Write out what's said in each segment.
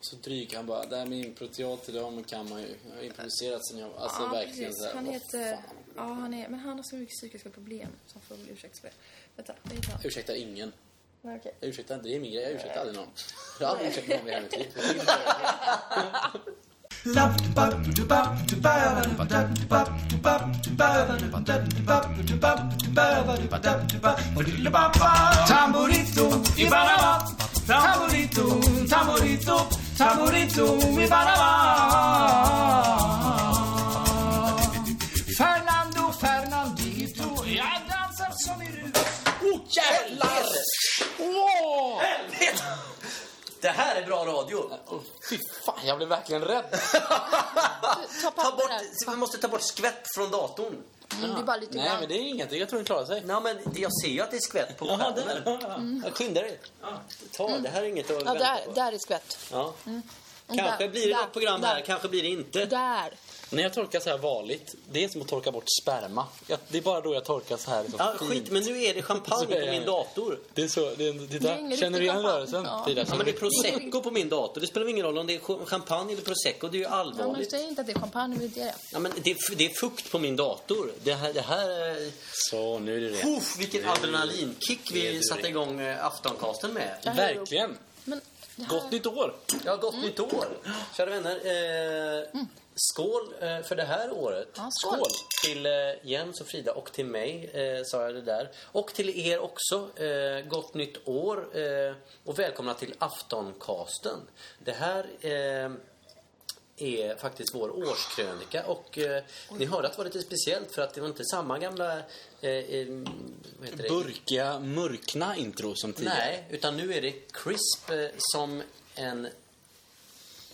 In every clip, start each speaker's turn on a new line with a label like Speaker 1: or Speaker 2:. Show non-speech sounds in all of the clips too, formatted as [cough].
Speaker 1: så dryg. Han bara, det här med improteater, det har man- kan man ju. Jag har improviserat sen jag... Alltså
Speaker 2: ja,
Speaker 1: verkligen
Speaker 2: precis.
Speaker 1: såhär,
Speaker 2: Han
Speaker 1: vad
Speaker 2: heter...
Speaker 1: fan.
Speaker 2: Ja, han är... Men han har så mycket psykiska problem så han får väl ursäkta för det. Vänta, vad heter han?
Speaker 1: Ursäktar ingen.
Speaker 2: Nej, okej.
Speaker 1: Jag ursäktar inte, det är min grej. Jag ursäktar aldrig någon. Jag har aldrig ursäktat någon i hela mitt liv. Jag tycker inte det.
Speaker 3: Tamburito y Panamá, tamburito, tamburito, tamburito y Panamá. Fernando, Fernandito, jag dansar som i rus.
Speaker 4: Oh, jävlar! Åh! Helvete! Det här är bra radio.
Speaker 1: [laughs] Åh, Fy fan, jag blev verkligen rädd.
Speaker 2: Ta
Speaker 4: Ta
Speaker 2: papper
Speaker 4: bort,
Speaker 2: där.
Speaker 4: vi måste ta bort skvätt från datorn.
Speaker 2: Mm, det är bara lite
Speaker 1: Nej,
Speaker 2: grann.
Speaker 1: men det är ingenting. Jag tror den klarar sig.
Speaker 4: Nej, men det- jag ser ju att det är skvätt på
Speaker 1: Jaha,
Speaker 4: skärmen.
Speaker 1: där. Ja, Skynda dig.
Speaker 4: Ta, det här är inget att
Speaker 2: Ja,
Speaker 4: vänta
Speaker 2: där,
Speaker 4: på.
Speaker 2: där är skvätt.
Speaker 4: Ja.
Speaker 2: Där,
Speaker 4: Kanske blir det
Speaker 2: där,
Speaker 4: något program här,
Speaker 2: där.
Speaker 4: kanske blir det inte.
Speaker 2: Där.
Speaker 1: När jag torkar så här vanligt, det är som att torka bort sperma. Jag, det är bara då jag torkar så här. Liksom,
Speaker 4: Ja,
Speaker 1: fint.
Speaker 4: skit, men nu är det
Speaker 1: Så
Speaker 4: champagne
Speaker 1: är
Speaker 4: på
Speaker 1: jag.
Speaker 4: min dator.
Speaker 1: Det är så, det är, en-
Speaker 2: Det
Speaker 1: titta,
Speaker 2: är ingen
Speaker 1: känner du
Speaker 2: riktig
Speaker 1: igen
Speaker 2: kampanj.
Speaker 1: rörelsen?
Speaker 2: Ja.
Speaker 1: Frida?
Speaker 4: Ja, men det är
Speaker 1: Känner du-
Speaker 4: prosecco på min dator. Det spelar ingen roll om det är ch- champagne eller prosecco. Det är ju
Speaker 2: Ja, men
Speaker 4: allvarligt.
Speaker 2: säg inte att det är champagne, men det är det.
Speaker 4: Ja, men det, är, f- det är fukt på min dator. Det här... Det här är-
Speaker 1: Så, nu är det rätt.
Speaker 4: Puff, vilken adrenalinkick vi satte igång eh, aftoncasten med.
Speaker 2: här är
Speaker 1: Verkligen.
Speaker 2: Men det här...
Speaker 1: Gott nytt år.
Speaker 4: Ja, gott nytt år! Kära vänner, eh, skål eh, för det här året.
Speaker 2: Mm. Ja, skål.
Speaker 4: Till eh, Jens och Frida och till mig eh, sa jag det där. Och till er också. Eh, gott nytt år eh, och välkomna till aftoncasten. Det här eh, är faktiskt vår årskrönika och eh, ni hörde att det var lite speciellt för att det var inte samma gamla eh, eh, vad heter det?
Speaker 1: Burkiga, mörkna intro som tidigare.
Speaker 4: Nej, utan nu är det crisp eh, som en...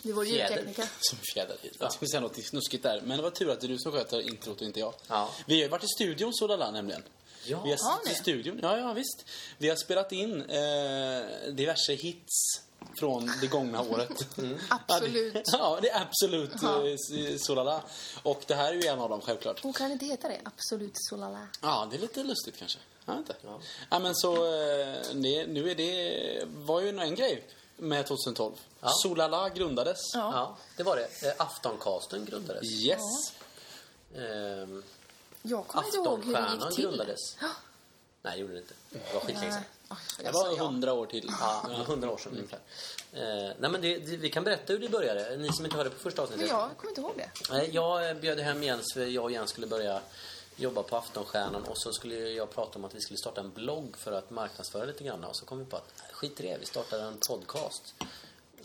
Speaker 2: Det är vår
Speaker 4: Fjäder.
Speaker 2: ljudtekniker.
Speaker 1: Som fjädrar hit. Jag skulle säga något snuskigt där. Men det var tur att det är du som sköter introt och inte jag.
Speaker 4: Ja.
Speaker 1: Vi har ju varit i studion Solala nämligen.
Speaker 4: Ja.
Speaker 1: vi har
Speaker 2: Har
Speaker 1: suttit i
Speaker 2: ni?
Speaker 1: studion. Ja, ja, visst. Vi har spelat in eh, diverse hits från det gångna
Speaker 4: [laughs]
Speaker 1: året.
Speaker 4: Mm.
Speaker 2: Absolut.
Speaker 1: [laughs] Ja, det är absolut eh, s- Solala. Och det här är ju en av dem självklart.
Speaker 2: Hon kan inte heta det. Absolut solala.
Speaker 1: Ja, det är lite lustigt kanske. Jag vet inte. Ja. men så eh, det, nu är det var ju en grej med 2012. Solala grundades.
Speaker 2: Ja.
Speaker 4: Ja, det var det. Eh, Aftoncasten grundades.
Speaker 1: Yes.
Speaker 4: Ehm,
Speaker 2: Jag kommer inte ihåg hur det
Speaker 4: Aftonstjärnan
Speaker 2: gick till.
Speaker 4: grundades. Nej, det gjorde det inte. Det var skitlänge sedan.
Speaker 2: Ah,
Speaker 1: Det
Speaker 2: jag sa
Speaker 1: var
Speaker 2: ja.
Speaker 1: hundra år till.
Speaker 4: Ja, det var hundra år sedan ungefär. Eh, nej, men det, det, vi kan berätta hur det började. Ni som inte hörde på första
Speaker 2: Men
Speaker 4: avsnittet.
Speaker 2: jag kommer inte ihåg det.
Speaker 4: Nej, jag eh, bjöd hem Jens för jag och Jens skulle börja jobba på Aftonstjärnan och så skulle jag prata om att vi skulle starta en blogg för att marknadsföra lite grann och så kom vi på att nej, skit i det, vi startar en podcast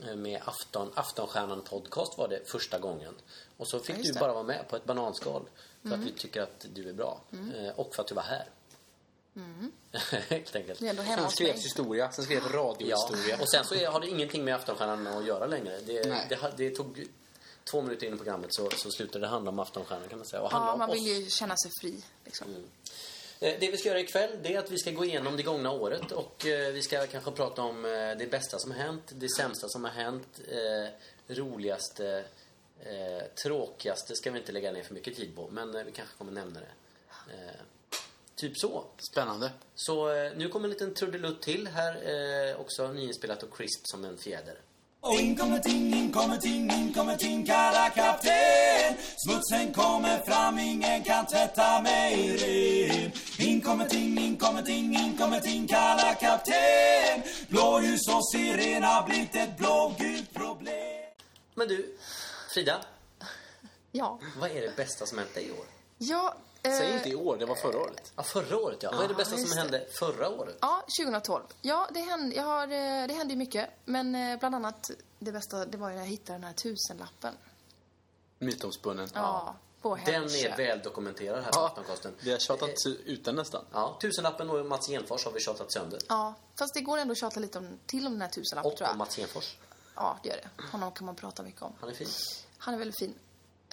Speaker 4: eh, med Afton, Aftonstjärnan podcast var det första gången och så fick
Speaker 2: Ja, just
Speaker 4: du
Speaker 2: det. Mm.
Speaker 4: bara vara med på ett bananskal för att vi tycker att du är bra Eh, och för att du var här.
Speaker 2: Mm.
Speaker 4: [laughs] Helt enkelt.
Speaker 2: Det är ändå hemma
Speaker 1: Sen
Speaker 2: hos mig.
Speaker 1: skrevs historia, sen skrevs
Speaker 4: Ja,
Speaker 1: radiohistoria.
Speaker 4: och sen så är- har det ingenting med Aftonstjärnan att göra längre. Det,
Speaker 1: Nej.
Speaker 4: det, ha- det tog två minuter in i programmet så, så slutade det handla om Aftonstjärnan kan man säga. Och handla
Speaker 2: Ja,
Speaker 4: om
Speaker 2: man
Speaker 4: oss.
Speaker 2: vill ju känna sig fri. Liksom.
Speaker 1: Mm.
Speaker 4: Eh, Det vi ska göra ikväll det är att vi ska gå igenom det gångna året och eh, vi ska kanske prata om eh, det bästa som har hänt, det sämsta som har hänt, eh, roligaste, eh, tråkigaste ska vi inte lägga ner för mycket tid på, men eh, vi kanske kommer nämna det. Eh, Typ så.
Speaker 1: Spännande.
Speaker 4: Så eh, nu kommer en liten trudelutt till här, eh, också nyinspelat och crisp som en fjäder.
Speaker 3: In kommer ting, in kommer ting, in kommer ting, kalla kapten Smutsen kommer fram, ingen kan tvätta mig ren In kommer ting, in kommer ting, in kommer ting, kalla kapten Blåljus och siren har blivit ett blågult problem
Speaker 4: Men du, Frida,
Speaker 2: Ja.
Speaker 4: vad är det bästa som hänt dig i år?
Speaker 2: Ja,
Speaker 1: Säg
Speaker 2: eh,
Speaker 1: inte i år, det var förra året.
Speaker 4: Ja, förra året ja. Vad är det
Speaker 2: Ja,
Speaker 4: bästa
Speaker 2: just
Speaker 4: som
Speaker 2: det.
Speaker 4: hände förra året?
Speaker 2: ja 2012. Ja, det hände, jag har, eh, det hände ju mycket. Men eh, bland annat det bästa, det var ju när jag hittade den här tusenlappen.
Speaker 1: Mytomspunnen.
Speaker 2: Ja, på
Speaker 4: Den
Speaker 2: Hemköp.
Speaker 4: är väl dokumenterad här på
Speaker 1: Ja,
Speaker 4: Aftoncasten.
Speaker 1: vi har tjatat ut den nästan.
Speaker 4: Ja, tusenlappen och Mats Genfors har vi tjatat sönder.
Speaker 2: Ja, fast det går ändå att tjata lite om, till om den här tusenlappen,
Speaker 4: Och
Speaker 2: tror
Speaker 4: om
Speaker 2: jag.
Speaker 4: Mats Genfors.
Speaker 2: Ja, det gör det. Honom kan man prata mycket om.
Speaker 4: Han är fin.
Speaker 2: Han är väldigt fin.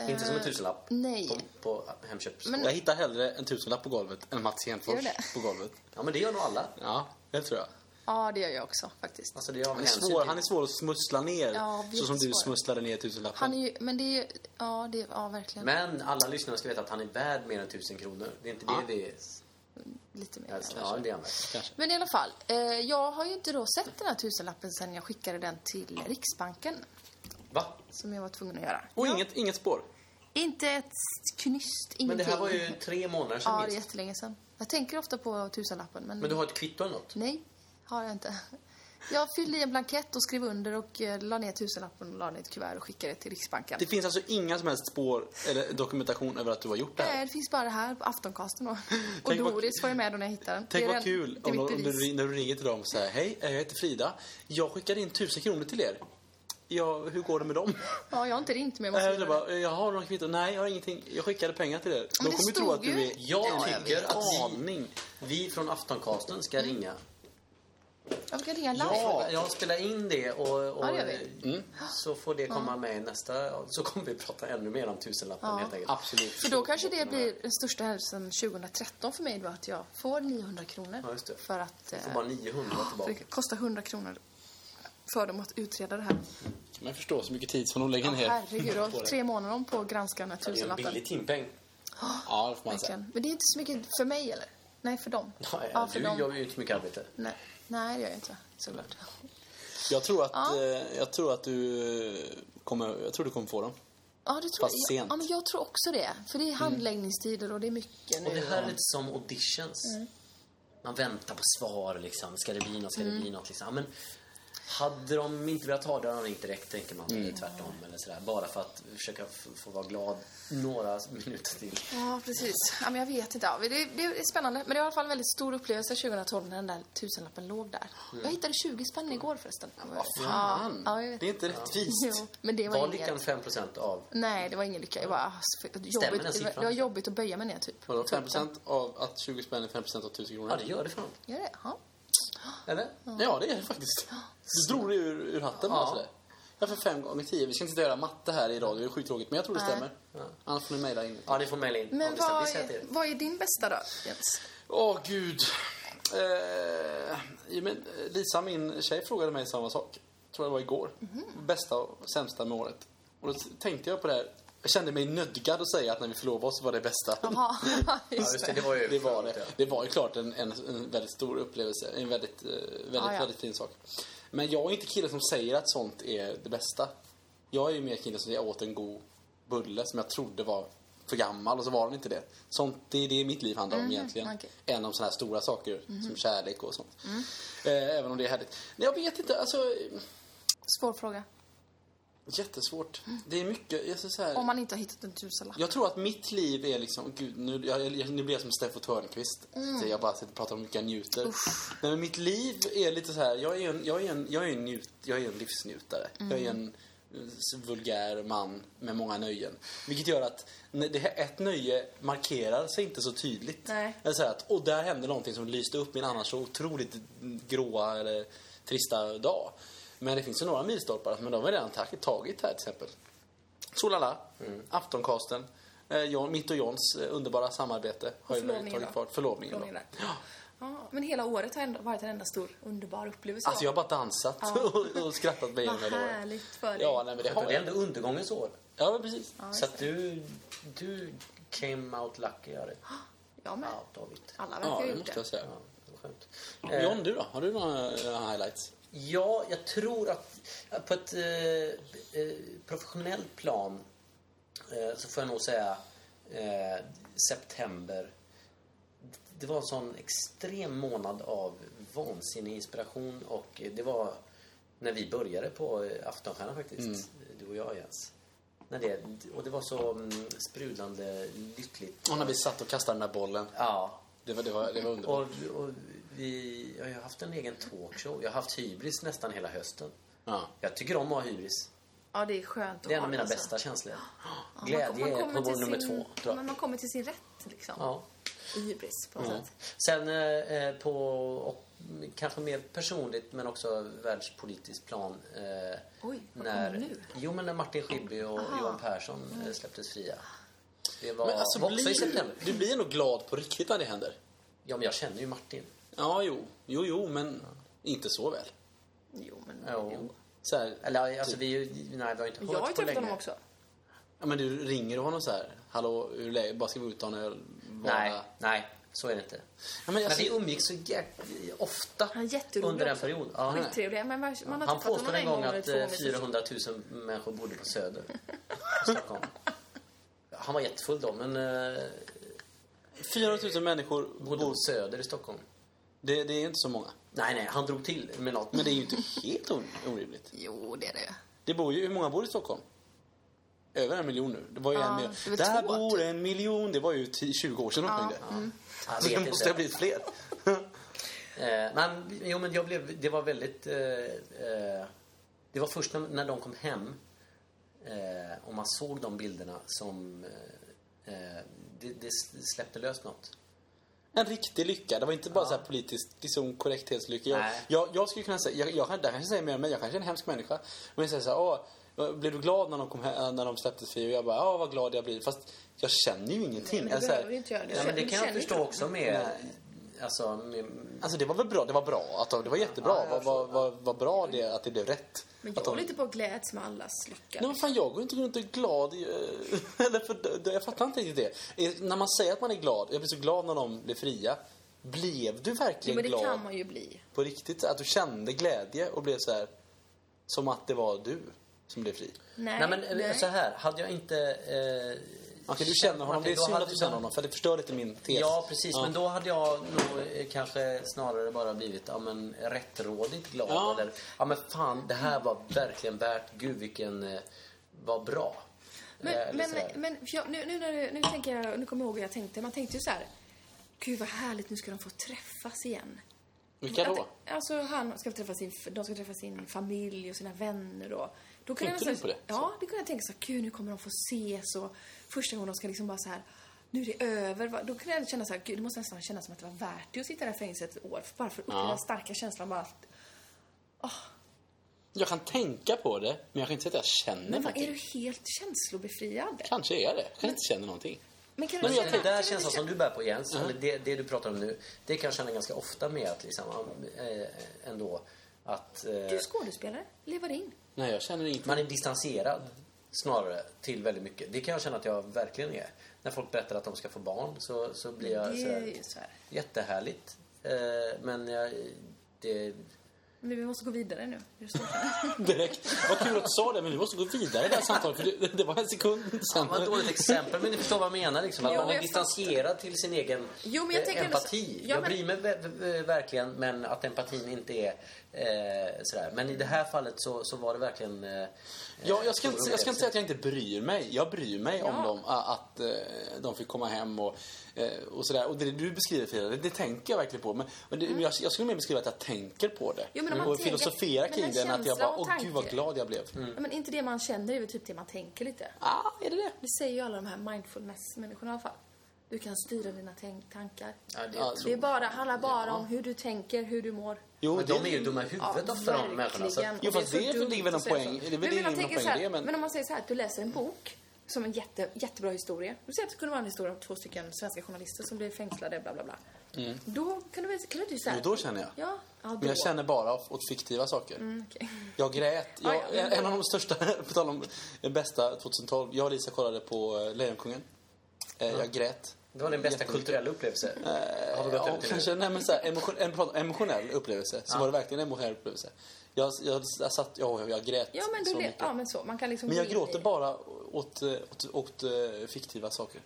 Speaker 4: Inte som en tusenlapp.
Speaker 2: Eh, nej.
Speaker 4: På, på Hemköp.
Speaker 2: Men-
Speaker 1: Jag hittar hellre en tusenlapp på golvet än Mats
Speaker 2: Gör
Speaker 1: Henfors
Speaker 2: det?
Speaker 1: på golvet.
Speaker 4: Ja, men det gör nog alla.
Speaker 1: Ja, det tror jag.
Speaker 2: Ja, det gör jag också faktiskt.
Speaker 4: Alltså, det är av
Speaker 1: Han är,
Speaker 4: hänsyn
Speaker 1: svår,
Speaker 4: till-
Speaker 1: han är svår att smussla ner,
Speaker 2: Ja,
Speaker 1: så som du
Speaker 2: jättesvår.
Speaker 1: smusslade ner tusenlappen.
Speaker 2: Han är ju, men det är ju, ja, det är, ja verkligen.
Speaker 4: Men alla lyssnare ska veta att han är värd mer än tusen kronor. Det är inte det vi...
Speaker 2: lite mer.
Speaker 4: Helst,
Speaker 2: kanske.
Speaker 4: Alltså, ja, det är använt.
Speaker 1: Kanske.
Speaker 2: Men i alla fall, eh, jag har ju inte då sett den här tusenlappen sen jag skickade den till Riksbanken.
Speaker 4: Va?
Speaker 2: Som jag var tvungen att göra.
Speaker 1: Och inget, inget spår.
Speaker 2: Inte ett knyst, ingenting.
Speaker 4: Men det här var ju tre månader sedan
Speaker 2: Ja, det är
Speaker 4: minst.
Speaker 2: jättelänge sedan. Jag tänker ofta på tusenlappen, men...
Speaker 4: Men du har ett kvitto eller något?
Speaker 2: Nej, har jag inte. Jag fyllde i en blankett och skrev under och eh, la ner tusenlappen och la ner ett kuvert och skickade det till Riksbanken.
Speaker 1: Det finns alltså inga som helst spår eller dokumentation över att du har gjort det här.
Speaker 2: Nej, det finns bara det här på aftoncasten då. Och
Speaker 1: Tänk vad-
Speaker 2: Doris var ju med då när jag hittade den. Det
Speaker 1: Tänk
Speaker 2: är
Speaker 1: vad
Speaker 2: den-
Speaker 1: kul om
Speaker 2: det är mitt
Speaker 1: de, om
Speaker 2: bevis.
Speaker 1: du, ring- när du ringer till dem och säger Hej, eh, jag heter Frida. Jag skickade in tusen kronor till er. Ja, hur går det med dem?
Speaker 2: Ja, jag har inte ringt men jag måste
Speaker 1: Äh,
Speaker 2: göra
Speaker 1: du
Speaker 2: det.
Speaker 1: bara, jag har några kvitton. Nej, jag har ingenting. Jag skickade pengar till er. De
Speaker 2: det
Speaker 1: kommer ju tro
Speaker 2: stod
Speaker 1: att du
Speaker 2: ju-
Speaker 1: är...
Speaker 4: Jag
Speaker 2: Ja, jag
Speaker 4: tycker
Speaker 2: vet.
Speaker 4: att vi,
Speaker 1: Aning.
Speaker 4: vi från Aftoncasten ska
Speaker 2: Mm.
Speaker 4: ringa.
Speaker 2: Jag kan ringa live.
Speaker 4: Ja, jag spelar in det och, och
Speaker 2: Ja, Mm. det gör vi.
Speaker 4: så får det komma med i nästa... Så kommer vi prata ännu mer om tusenlappen helt enkelt.
Speaker 1: Absolut.
Speaker 2: För då kanske det blir den största händelsen 2013 för mig då att jag får 900 kronor.
Speaker 4: Ja, just det.
Speaker 2: För att... eh,
Speaker 4: Får bara 900
Speaker 2: för
Speaker 4: tillbaka.
Speaker 2: det kostar 100 kronor för dem att utreda det här.
Speaker 1: Kan man förstå så mycket tid som de lägger
Speaker 2: Ja,
Speaker 1: ner.
Speaker 2: herregud,
Speaker 1: [laughs]
Speaker 2: då
Speaker 1: på det.
Speaker 2: tre månader om på att granska den här
Speaker 4: Det är en
Speaker 2: tusenlappen.
Speaker 4: billig timpeng.
Speaker 1: Ja, det får man säga.
Speaker 2: Verkligen. Men det är inte så mycket för mig eller? Nej, för dem.
Speaker 4: Nej,
Speaker 2: ja, för
Speaker 4: du
Speaker 2: dem.
Speaker 4: gör ju inte så mycket arbete.
Speaker 2: Nej. Nej, det gör jag inte. Såklart.
Speaker 1: Jag tror att,
Speaker 2: Ja.
Speaker 1: eh, jag tror att du eh, kommer, jag tror du kommer få dem.
Speaker 2: Ja, det tror
Speaker 1: Fast
Speaker 2: jag.
Speaker 1: sent.
Speaker 2: Ja, men jag tror också det. För det är handläggningstider och det är mycket nu.
Speaker 4: Mm. Och det här är lite som auditions.
Speaker 2: Mm.
Speaker 4: Man väntar på svar liksom. Ska det bli något? Ska
Speaker 2: Mm.
Speaker 4: det bli något? Liksom. Ja, Men hade de inte velat ha det hade de ringt direkt, tänker man. Eller tvärtom eller sådär. Bara för att försöka f- få vara glad några minuter till.
Speaker 2: Ja, precis. Ja, men jag vet inte. Ja, men det, det är spännande. Men det var i alla fall en väldigt stor upplevelse 2012 när den där tusenlappen låg där.
Speaker 4: Mm.
Speaker 2: Jag hittade 20 spänn igår förresten. Vad
Speaker 1: fan.
Speaker 2: Ja, jag vet.
Speaker 1: Det är inte rättvist.
Speaker 2: [laughs] Jo, men det var,
Speaker 4: Var
Speaker 2: inget.
Speaker 4: lyckan 5% av...
Speaker 2: Nej, det var ingen lycka. Jag bara, ah, så-
Speaker 4: den
Speaker 2: jobbigt. Det var,
Speaker 4: siffran?
Speaker 2: det var jobbigt att böja mig ner typ.
Speaker 1: Vadå, 5% av att 20 spänn är 5% av 1000
Speaker 4: Ja,
Speaker 1: kronor?
Speaker 4: det gör det fan.
Speaker 2: Gör det? Ja.
Speaker 4: Eller?
Speaker 1: Ja, det är det faktiskt. Du drog det ur, ur hatten bara
Speaker 4: Ja.
Speaker 1: sådär. Ja, för fem gånger tio. Vi ska inte göra matte här i radio, det är skittråkigt. Men jag tror det
Speaker 2: Nej.
Speaker 1: stämmer. Annars får ni mejla in.
Speaker 4: Ja, ni får mejla in.
Speaker 2: Men
Speaker 4: ja,
Speaker 2: vad,
Speaker 4: vi säger
Speaker 2: är,
Speaker 4: till.
Speaker 2: vad är din bästa då, Jens?
Speaker 1: Åh, gud. Eh, ja, men Lisa, min tjej, frågade mig samma sak. Tror jag det var igår. Bästa och sämsta med året. Och då tänkte jag på det här. Jag kände mig nödgad att säga att när vi förlovade oss var det bästa.
Speaker 2: Ja,
Speaker 4: [laughs] Ja, just det, det var ju...
Speaker 1: Det var det.
Speaker 4: skönt,
Speaker 1: Det var ju klart en, en, en väldigt stor upplevelse. En väldigt, eh, väldigt,
Speaker 2: Ja, ja.
Speaker 1: väldigt fin sak. Men jag är inte killen som säger att sånt är det bästa. Jag är ju mer killen som jag åt en god bulle som jag trodde var för gammal och så var den inte det. Sånt, det är det mitt liv handlar om
Speaker 4: Mhm,
Speaker 1: egentligen.
Speaker 2: okej.
Speaker 1: Än om såna här stora saker som kärlek och sånt.
Speaker 4: Mm.
Speaker 1: Eh, även om det är härligt. Nej, jag vet inte, alltså eh,
Speaker 2: Svår fråga.
Speaker 1: jättesvårt.
Speaker 4: Mm.
Speaker 1: Det är mycket, jag så här,
Speaker 2: Om man inte har hittat en tusenlapp.
Speaker 1: jag tror att mitt liv är liksom, gud nu, jag, jag- nu blir jag som Steffo Törnqvist. Så Jag bara sitter och pratar om mycket jag njuter. Nej, men mitt liv är lite så här, jag är en, jag är en, jag är en, njut, jag är en livsnjutare. Jag är en eh, vulgär man med många nöjen. Vilket gör att när det här, ett nöje markerar sig inte så tydligt.
Speaker 2: Nej.
Speaker 1: Eller så här att, och där hände någonting som lyste upp min annars så otroligt gråa eller trista dag. Men det finns ju några milstolpar, men de har jag redan tagit- tagit här till exempel. Solala,
Speaker 4: Mm.
Speaker 1: Aftoncasten, eh, John, mitt och Johns eh, underbara samarbete har ju
Speaker 2: förlovningen
Speaker 1: tagit
Speaker 2: då?
Speaker 1: fart. Förlovningen då.
Speaker 2: Förlovningen
Speaker 1: Ja.
Speaker 2: Ja, men hela året har ändå varit en enda stor underbar upplevelse.
Speaker 1: Alltså jag har bara dansat [laughs] och, och skrattat mig
Speaker 2: Vad
Speaker 1: igenom hela året.
Speaker 2: härligt för dig.
Speaker 1: Ja, nej, men det
Speaker 4: Och
Speaker 1: har
Speaker 4: Det är ändå
Speaker 1: jag.
Speaker 4: undergångens år.
Speaker 1: Ja, men precis.
Speaker 4: Så att du... Du came out lucky, gör det.
Speaker 2: Jag med.
Speaker 4: Out of it.
Speaker 2: Alla verkar
Speaker 1: Ja,
Speaker 2: ha
Speaker 1: det
Speaker 2: gjort
Speaker 1: måste
Speaker 2: det.
Speaker 1: jag säga.
Speaker 4: Ja, det var skönt. Eh,
Speaker 1: John, du då? Har du några eh, highlights?
Speaker 4: Ja, jag tror att på ett eh, eh, professionellt plan eh, så får jag nog säga eh, september. Det var en sån extrem månad av vansinnig inspiration och eh, det var när vi började på eh, Aftonstjärnan faktiskt, du och jag Jens. När det, och det var så mm, sprudlande lyckligt.
Speaker 1: Och när vi satt och kastade den där bollen.
Speaker 4: Ja,
Speaker 1: Det var, det var, det var underbart.
Speaker 4: och, och vi, jag har haft en egen talkshow. Jag har haft hybris nästan hela hösten.
Speaker 1: Ja.
Speaker 4: Jag tycker om att ha hybris.
Speaker 2: Ja, det är skönt att
Speaker 4: Det är en av
Speaker 2: ha,
Speaker 4: mina
Speaker 2: alltså.
Speaker 4: bästa känslor.
Speaker 2: Ja, man-
Speaker 4: Glädje
Speaker 2: man
Speaker 4: är
Speaker 2: kommer
Speaker 4: på
Speaker 2: till
Speaker 4: vår nummer
Speaker 2: sin-
Speaker 4: två, tror jag.
Speaker 2: Men man kommer till sin rätt liksom.
Speaker 4: Ja. Mm.
Speaker 2: I hybris på något sätt.
Speaker 4: Sen eh, eh, på, och, kanske mer personligt men också världspolitiskt plan. Eh,
Speaker 2: Oj, vad
Speaker 4: när,
Speaker 2: kommer nu?
Speaker 4: Jo, men när Martin Schibbye och Johan Persson eh, släpptes fria. Det var,
Speaker 1: Men alltså,
Speaker 4: var också i
Speaker 1: blir,
Speaker 4: september.
Speaker 1: du blir nog glad på riktigt när det händer.
Speaker 4: Ja, men jag känner ju Martin.
Speaker 1: Ja, jo. Jo, jo, men inte så väl.
Speaker 2: Jo, men...
Speaker 4: Jo.
Speaker 1: Så här,
Speaker 4: Eller alltså, vi, är ju- nej, vi har inte hört
Speaker 2: Jag har ju
Speaker 4: på
Speaker 2: träffat honom
Speaker 4: länge.
Speaker 2: också.
Speaker 1: Ja, men du ringer och honom så här. Hallå, hur är läget? Bara ska vi ut och ta en öl? Bara-
Speaker 4: Nej, nej. Så är det inte.
Speaker 1: men
Speaker 4: men
Speaker 1: jag
Speaker 4: vi
Speaker 1: ser-
Speaker 4: umgicks så jäk- ofta
Speaker 2: Han är jätterolig
Speaker 4: under den
Speaker 2: också.
Speaker 4: perioden. Ja, han är-
Speaker 2: Skittrevlig. Men man man har
Speaker 4: han
Speaker 2: träffat
Speaker 4: påstod
Speaker 2: honom
Speaker 4: en gång
Speaker 2: eller
Speaker 4: att
Speaker 2: två gånger.
Speaker 4: eh, 400 000 människor bodde på Söder i
Speaker 2: [laughs]
Speaker 4: Stockholm. Han var jättefull då, men eh,
Speaker 1: 400 000 människor
Speaker 4: bodde på
Speaker 1: bor...
Speaker 4: Söder i Stockholm.
Speaker 1: Det, det är inte så många.
Speaker 4: Nej, nej, han drog till med något.
Speaker 1: Men det är
Speaker 2: [laughs]
Speaker 1: ju inte helt or- orimligt.
Speaker 2: Jo, det är det ju.
Speaker 1: Det bor ju, hur många bor i Stockholm? Över en miljon nu. Det var ju
Speaker 2: Ja,
Speaker 1: en miljon.
Speaker 2: det är väl
Speaker 1: Där
Speaker 2: två,
Speaker 1: bor
Speaker 2: typ. Mm.
Speaker 1: en miljon. Det var ju 10, 20 år sedan de ringde.
Speaker 4: Han
Speaker 1: Så
Speaker 4: vet
Speaker 1: det måste
Speaker 4: inte.
Speaker 1: ha blivit fler.
Speaker 4: Eh, men, jo, men jag blev, det var väldigt... Eh, eh, det var först när, när de kom hem eh, och man såg de bilderna som... Eh, eh, det, det släppte lös något.
Speaker 1: En riktig lycka. Det var inte bara så här politiskt liksom, korrekthetslycka. Jag,
Speaker 4: Nej.
Speaker 1: jag, jag skulle kunna säga, jag, jag, kan- det här kanske säger mer om mig, jag kanske är en hemsk människa. Men jag säger så här, "Åh, blev du glad när de, kom här, när de släpptes fri? Och jag bara, ja vad glad jag blir. Fast jag känner ju ingenting.
Speaker 2: Men
Speaker 1: jag,
Speaker 2: du
Speaker 1: så här,
Speaker 2: behöver ju inte göra det.
Speaker 4: Ja, men det kan jag
Speaker 2: Känner
Speaker 4: förstå
Speaker 2: inte.
Speaker 4: också med... Alltså, med,
Speaker 1: Alltså det var väl bra, det var bra. Att de, det var jättebra.
Speaker 4: Ja, jag
Speaker 1: vad, vad, vad, vad bra det att det blev rätt.
Speaker 2: Men
Speaker 1: att
Speaker 2: jag
Speaker 1: de,
Speaker 2: håller inte på att gläds med allas lycka.
Speaker 1: Nej, men fan, jag går inte runt och är glad. i- [laughs] Eller för, det- jag fattar inte riktigt det. Eh, När man säger att man är glad, jag blir så glad när de blev fria. Blev du
Speaker 2: Jo,
Speaker 1: verkligen
Speaker 2: men det
Speaker 1: glad
Speaker 2: kan man ju bli.
Speaker 1: på riktigt? Att du kände glädje och blev så här som att det var du som blev fri?
Speaker 2: Nej,
Speaker 4: Nej, men eh, så här, hade jag inte... Eh,
Speaker 1: Okej, du känner honom.
Speaker 4: Martin,
Speaker 1: Det är
Speaker 4: då
Speaker 1: synd
Speaker 4: hade-
Speaker 1: att du känner honom för det förstör lite min tes.
Speaker 4: Ja, precis. Men då hade jag nog eh, kanske snarare bara blivit ja, men, rättrådigt glad.
Speaker 1: Ja.
Speaker 4: Eller, ja, men fan, det här var verkligen värt... Gud, vilken... Eh, var bra. Eh,
Speaker 2: Men,
Speaker 4: eller
Speaker 2: men,
Speaker 4: så här.
Speaker 2: men för jag, nu, nu, när du- nu tänker jag, nu kommer jag ihåg hur jag tänkte. Man tänkte ju så här, gud vad härligt, nu ska de få träffas igen.
Speaker 1: Vilka då?
Speaker 2: Att, alltså han ska träffa sin, de ska träffa sin familj och sina vänner då. Då kunde
Speaker 1: Tänkte
Speaker 2: jag
Speaker 1: du på det?
Speaker 2: Ja, det kunde jag tänka så här, gud nu kommer de få ses och första gången de ska liksom bara så här, nu är det över. Va- Då kunde jag känna så här, gud det måste nästan kännas som att det var värt det att sitta i det här fängelset ett år. Bara för att uppleva den starka känslan bara att,
Speaker 1: Jag kan tänka på det, men jag kan inte säga att jag känner
Speaker 2: men vad, är
Speaker 1: någonting.
Speaker 2: du helt känslobefriad?
Speaker 1: Kanske är jag det. Jag kanske inte känner någonting.
Speaker 2: Men kan
Speaker 1: Men
Speaker 2: du
Speaker 1: jag
Speaker 2: känna...
Speaker 4: Det där
Speaker 2: kan du
Speaker 4: känslan
Speaker 2: känna-
Speaker 4: som du bär på Jens, eller det, det du pratar om nu, det kan jag känna ganska ofta med att liksom, ja, eh, ändå att eh,
Speaker 2: Du är skådespelare, lever in.
Speaker 1: Nej, jag känner ingenting.
Speaker 4: man är distanserad snarare till väldigt mycket. Det kan jag känna att jag verkligen är. När folk berättar att de ska få barn så, så blir jag
Speaker 2: Det
Speaker 4: så
Speaker 2: är
Speaker 4: här,
Speaker 2: ju så här.
Speaker 4: Jättehärligt. Eh, men jag, det,
Speaker 2: Men vi måste gå vidare nu. Just
Speaker 1: [laughs]
Speaker 2: nu.
Speaker 1: direkt. Vad kul att du sa det, men vi måste gå vidare i det här samtalet. För det, det var en sekund sen.
Speaker 4: det var ett dåligt exempel, men ni förstår vad jag menar. Liksom, att
Speaker 2: Jo,
Speaker 4: man är
Speaker 2: jag
Speaker 4: distanserad till sin egen
Speaker 2: Jo, men jag
Speaker 4: eh,
Speaker 2: tänker ändå så-
Speaker 4: empati.
Speaker 2: Ja,
Speaker 4: jag
Speaker 2: men-
Speaker 4: bryr mig ver- ver- verkligen, men att empatin inte är eh, sådär. Men i det här fallet så, så var det verkligen... Eh,
Speaker 1: Ja, jag, ska
Speaker 4: stor
Speaker 1: inte, jag ska inte säga att jag inte bryr mig. Jag bryr mig om
Speaker 2: Ja.
Speaker 1: dem, a- att eh, de fick komma hem och, eh, och sådär. Och det du beskriver, Frida, det, det tänker jag verkligen på. Men, men det, jag, jag skulle mer beskriva att jag tänker på det.
Speaker 2: Mm. Jo, men om man
Speaker 1: och
Speaker 2: tänker-
Speaker 1: filosoferar
Speaker 2: men
Speaker 1: kring
Speaker 2: en
Speaker 1: det än att jag
Speaker 2: känsla
Speaker 1: bara,
Speaker 2: och
Speaker 1: åh gud vad
Speaker 2: tanke." Mm.
Speaker 1: glad jag blev.
Speaker 2: Ja, Men inte det man känner, det är väl typ det man tänker lite.
Speaker 1: Ah, är det det?
Speaker 2: Det säger ju alla de här mindfulness-människorna i alla fall. Du kan styra dina tänk- tankar.
Speaker 4: Ja, det
Speaker 1: Ja,
Speaker 2: Det är
Speaker 4: tror,
Speaker 2: bara, handlar bara om hur du tänker, hur du mår.
Speaker 1: Jo,
Speaker 4: men
Speaker 1: det,
Speaker 4: de är ju dumma i huvudet ofta, de människorna. Så,
Speaker 2: verkligen.
Speaker 1: Jo,
Speaker 2: Och är
Speaker 1: fast
Speaker 2: så
Speaker 1: det
Speaker 2: dumt
Speaker 1: ligger väl
Speaker 2: att
Speaker 1: någon
Speaker 2: säga
Speaker 1: poäng-
Speaker 2: så.
Speaker 1: det är väl
Speaker 2: Men
Speaker 1: ingen
Speaker 2: jag tänker
Speaker 1: poäng i
Speaker 2: så här,
Speaker 1: det, men-
Speaker 2: men... om man säger så här, att du läser en bok som en jätte, jättebra historia. Du säger att det kunde vara en historia om två stycken svenska journalister som blev fängslade, bla bla bla. Då kan du väl, kan du inte säga...
Speaker 1: Mm. Jo, då känner jag.
Speaker 2: Ja, ja då.
Speaker 1: Men jag känner bara åt fiktiva saker.
Speaker 2: Okej.
Speaker 1: Jag grät. Jag,
Speaker 2: Ja, ja, men-
Speaker 1: en av de största, [laughs] på tal om den bästa 2012. Jag och Lisa kollade på eh, Lejonkungen. Eh, Jag grät.
Speaker 4: det var den bästa
Speaker 1: Jättemycket.
Speaker 4: kulturella upplevelsen. har vi gått
Speaker 1: Ja,
Speaker 4: upp till nu?
Speaker 1: kanske. Nej, men så här, emotion, en prat- emotionell upplevelse. Så var det verkligen en emotionell upplevelse. Jag, jag, jag satt... Jag, jag grät
Speaker 2: Ja, men,
Speaker 1: så
Speaker 2: då, le-
Speaker 1: mycket.
Speaker 2: ja, men så. Man kan liksom
Speaker 1: Men
Speaker 2: gå
Speaker 1: jag
Speaker 2: in
Speaker 1: gråter
Speaker 2: i-
Speaker 1: bara åt, eh, åt, åt eh, fiktiva saker.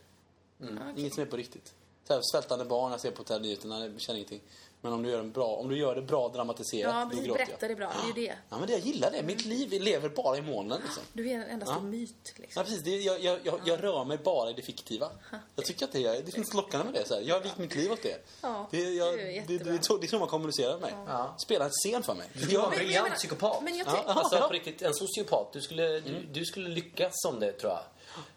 Speaker 2: Mm.
Speaker 1: Mm. Inget som är på riktigt. Så här, svältande barn jag ser på TV nyheterna, jag känner ingenting. Men om du gör, en bra, om du gör det bra dramatiserat,
Speaker 2: Ja,
Speaker 1: då
Speaker 2: precis.
Speaker 1: gråter
Speaker 2: Berätta
Speaker 1: jag.
Speaker 2: det bra. Det är ju det.
Speaker 1: Ja, men det, jag gillar det. Mitt liv lever bara i molnen. Liksom.
Speaker 2: Du är en enda stor
Speaker 1: Ja.
Speaker 2: myt,
Speaker 1: Ja,
Speaker 2: liksom.
Speaker 1: precis. Det, jag, jag, jag, jag rör mig bara i det fiktiva. Jag tycker att det, är, det finns lockande med det. Så här. Jag har vikt mitt liv åt det.
Speaker 2: Ja,
Speaker 1: det, jag,
Speaker 2: det är
Speaker 1: det,
Speaker 2: ju
Speaker 1: det,
Speaker 2: jättebra.
Speaker 1: är så- det är så man kommunicerar med mig.
Speaker 4: Ja.
Speaker 1: Spela en scen för mig.
Speaker 4: Du var en
Speaker 1: Jag,
Speaker 2: men jag
Speaker 4: briljant
Speaker 2: menar-
Speaker 4: psykopat. Mm.
Speaker 2: men jag tänk-
Speaker 4: alltså, på riktigt, en sociopat. Du skulle, du, du skulle lyckas som det, tror jag.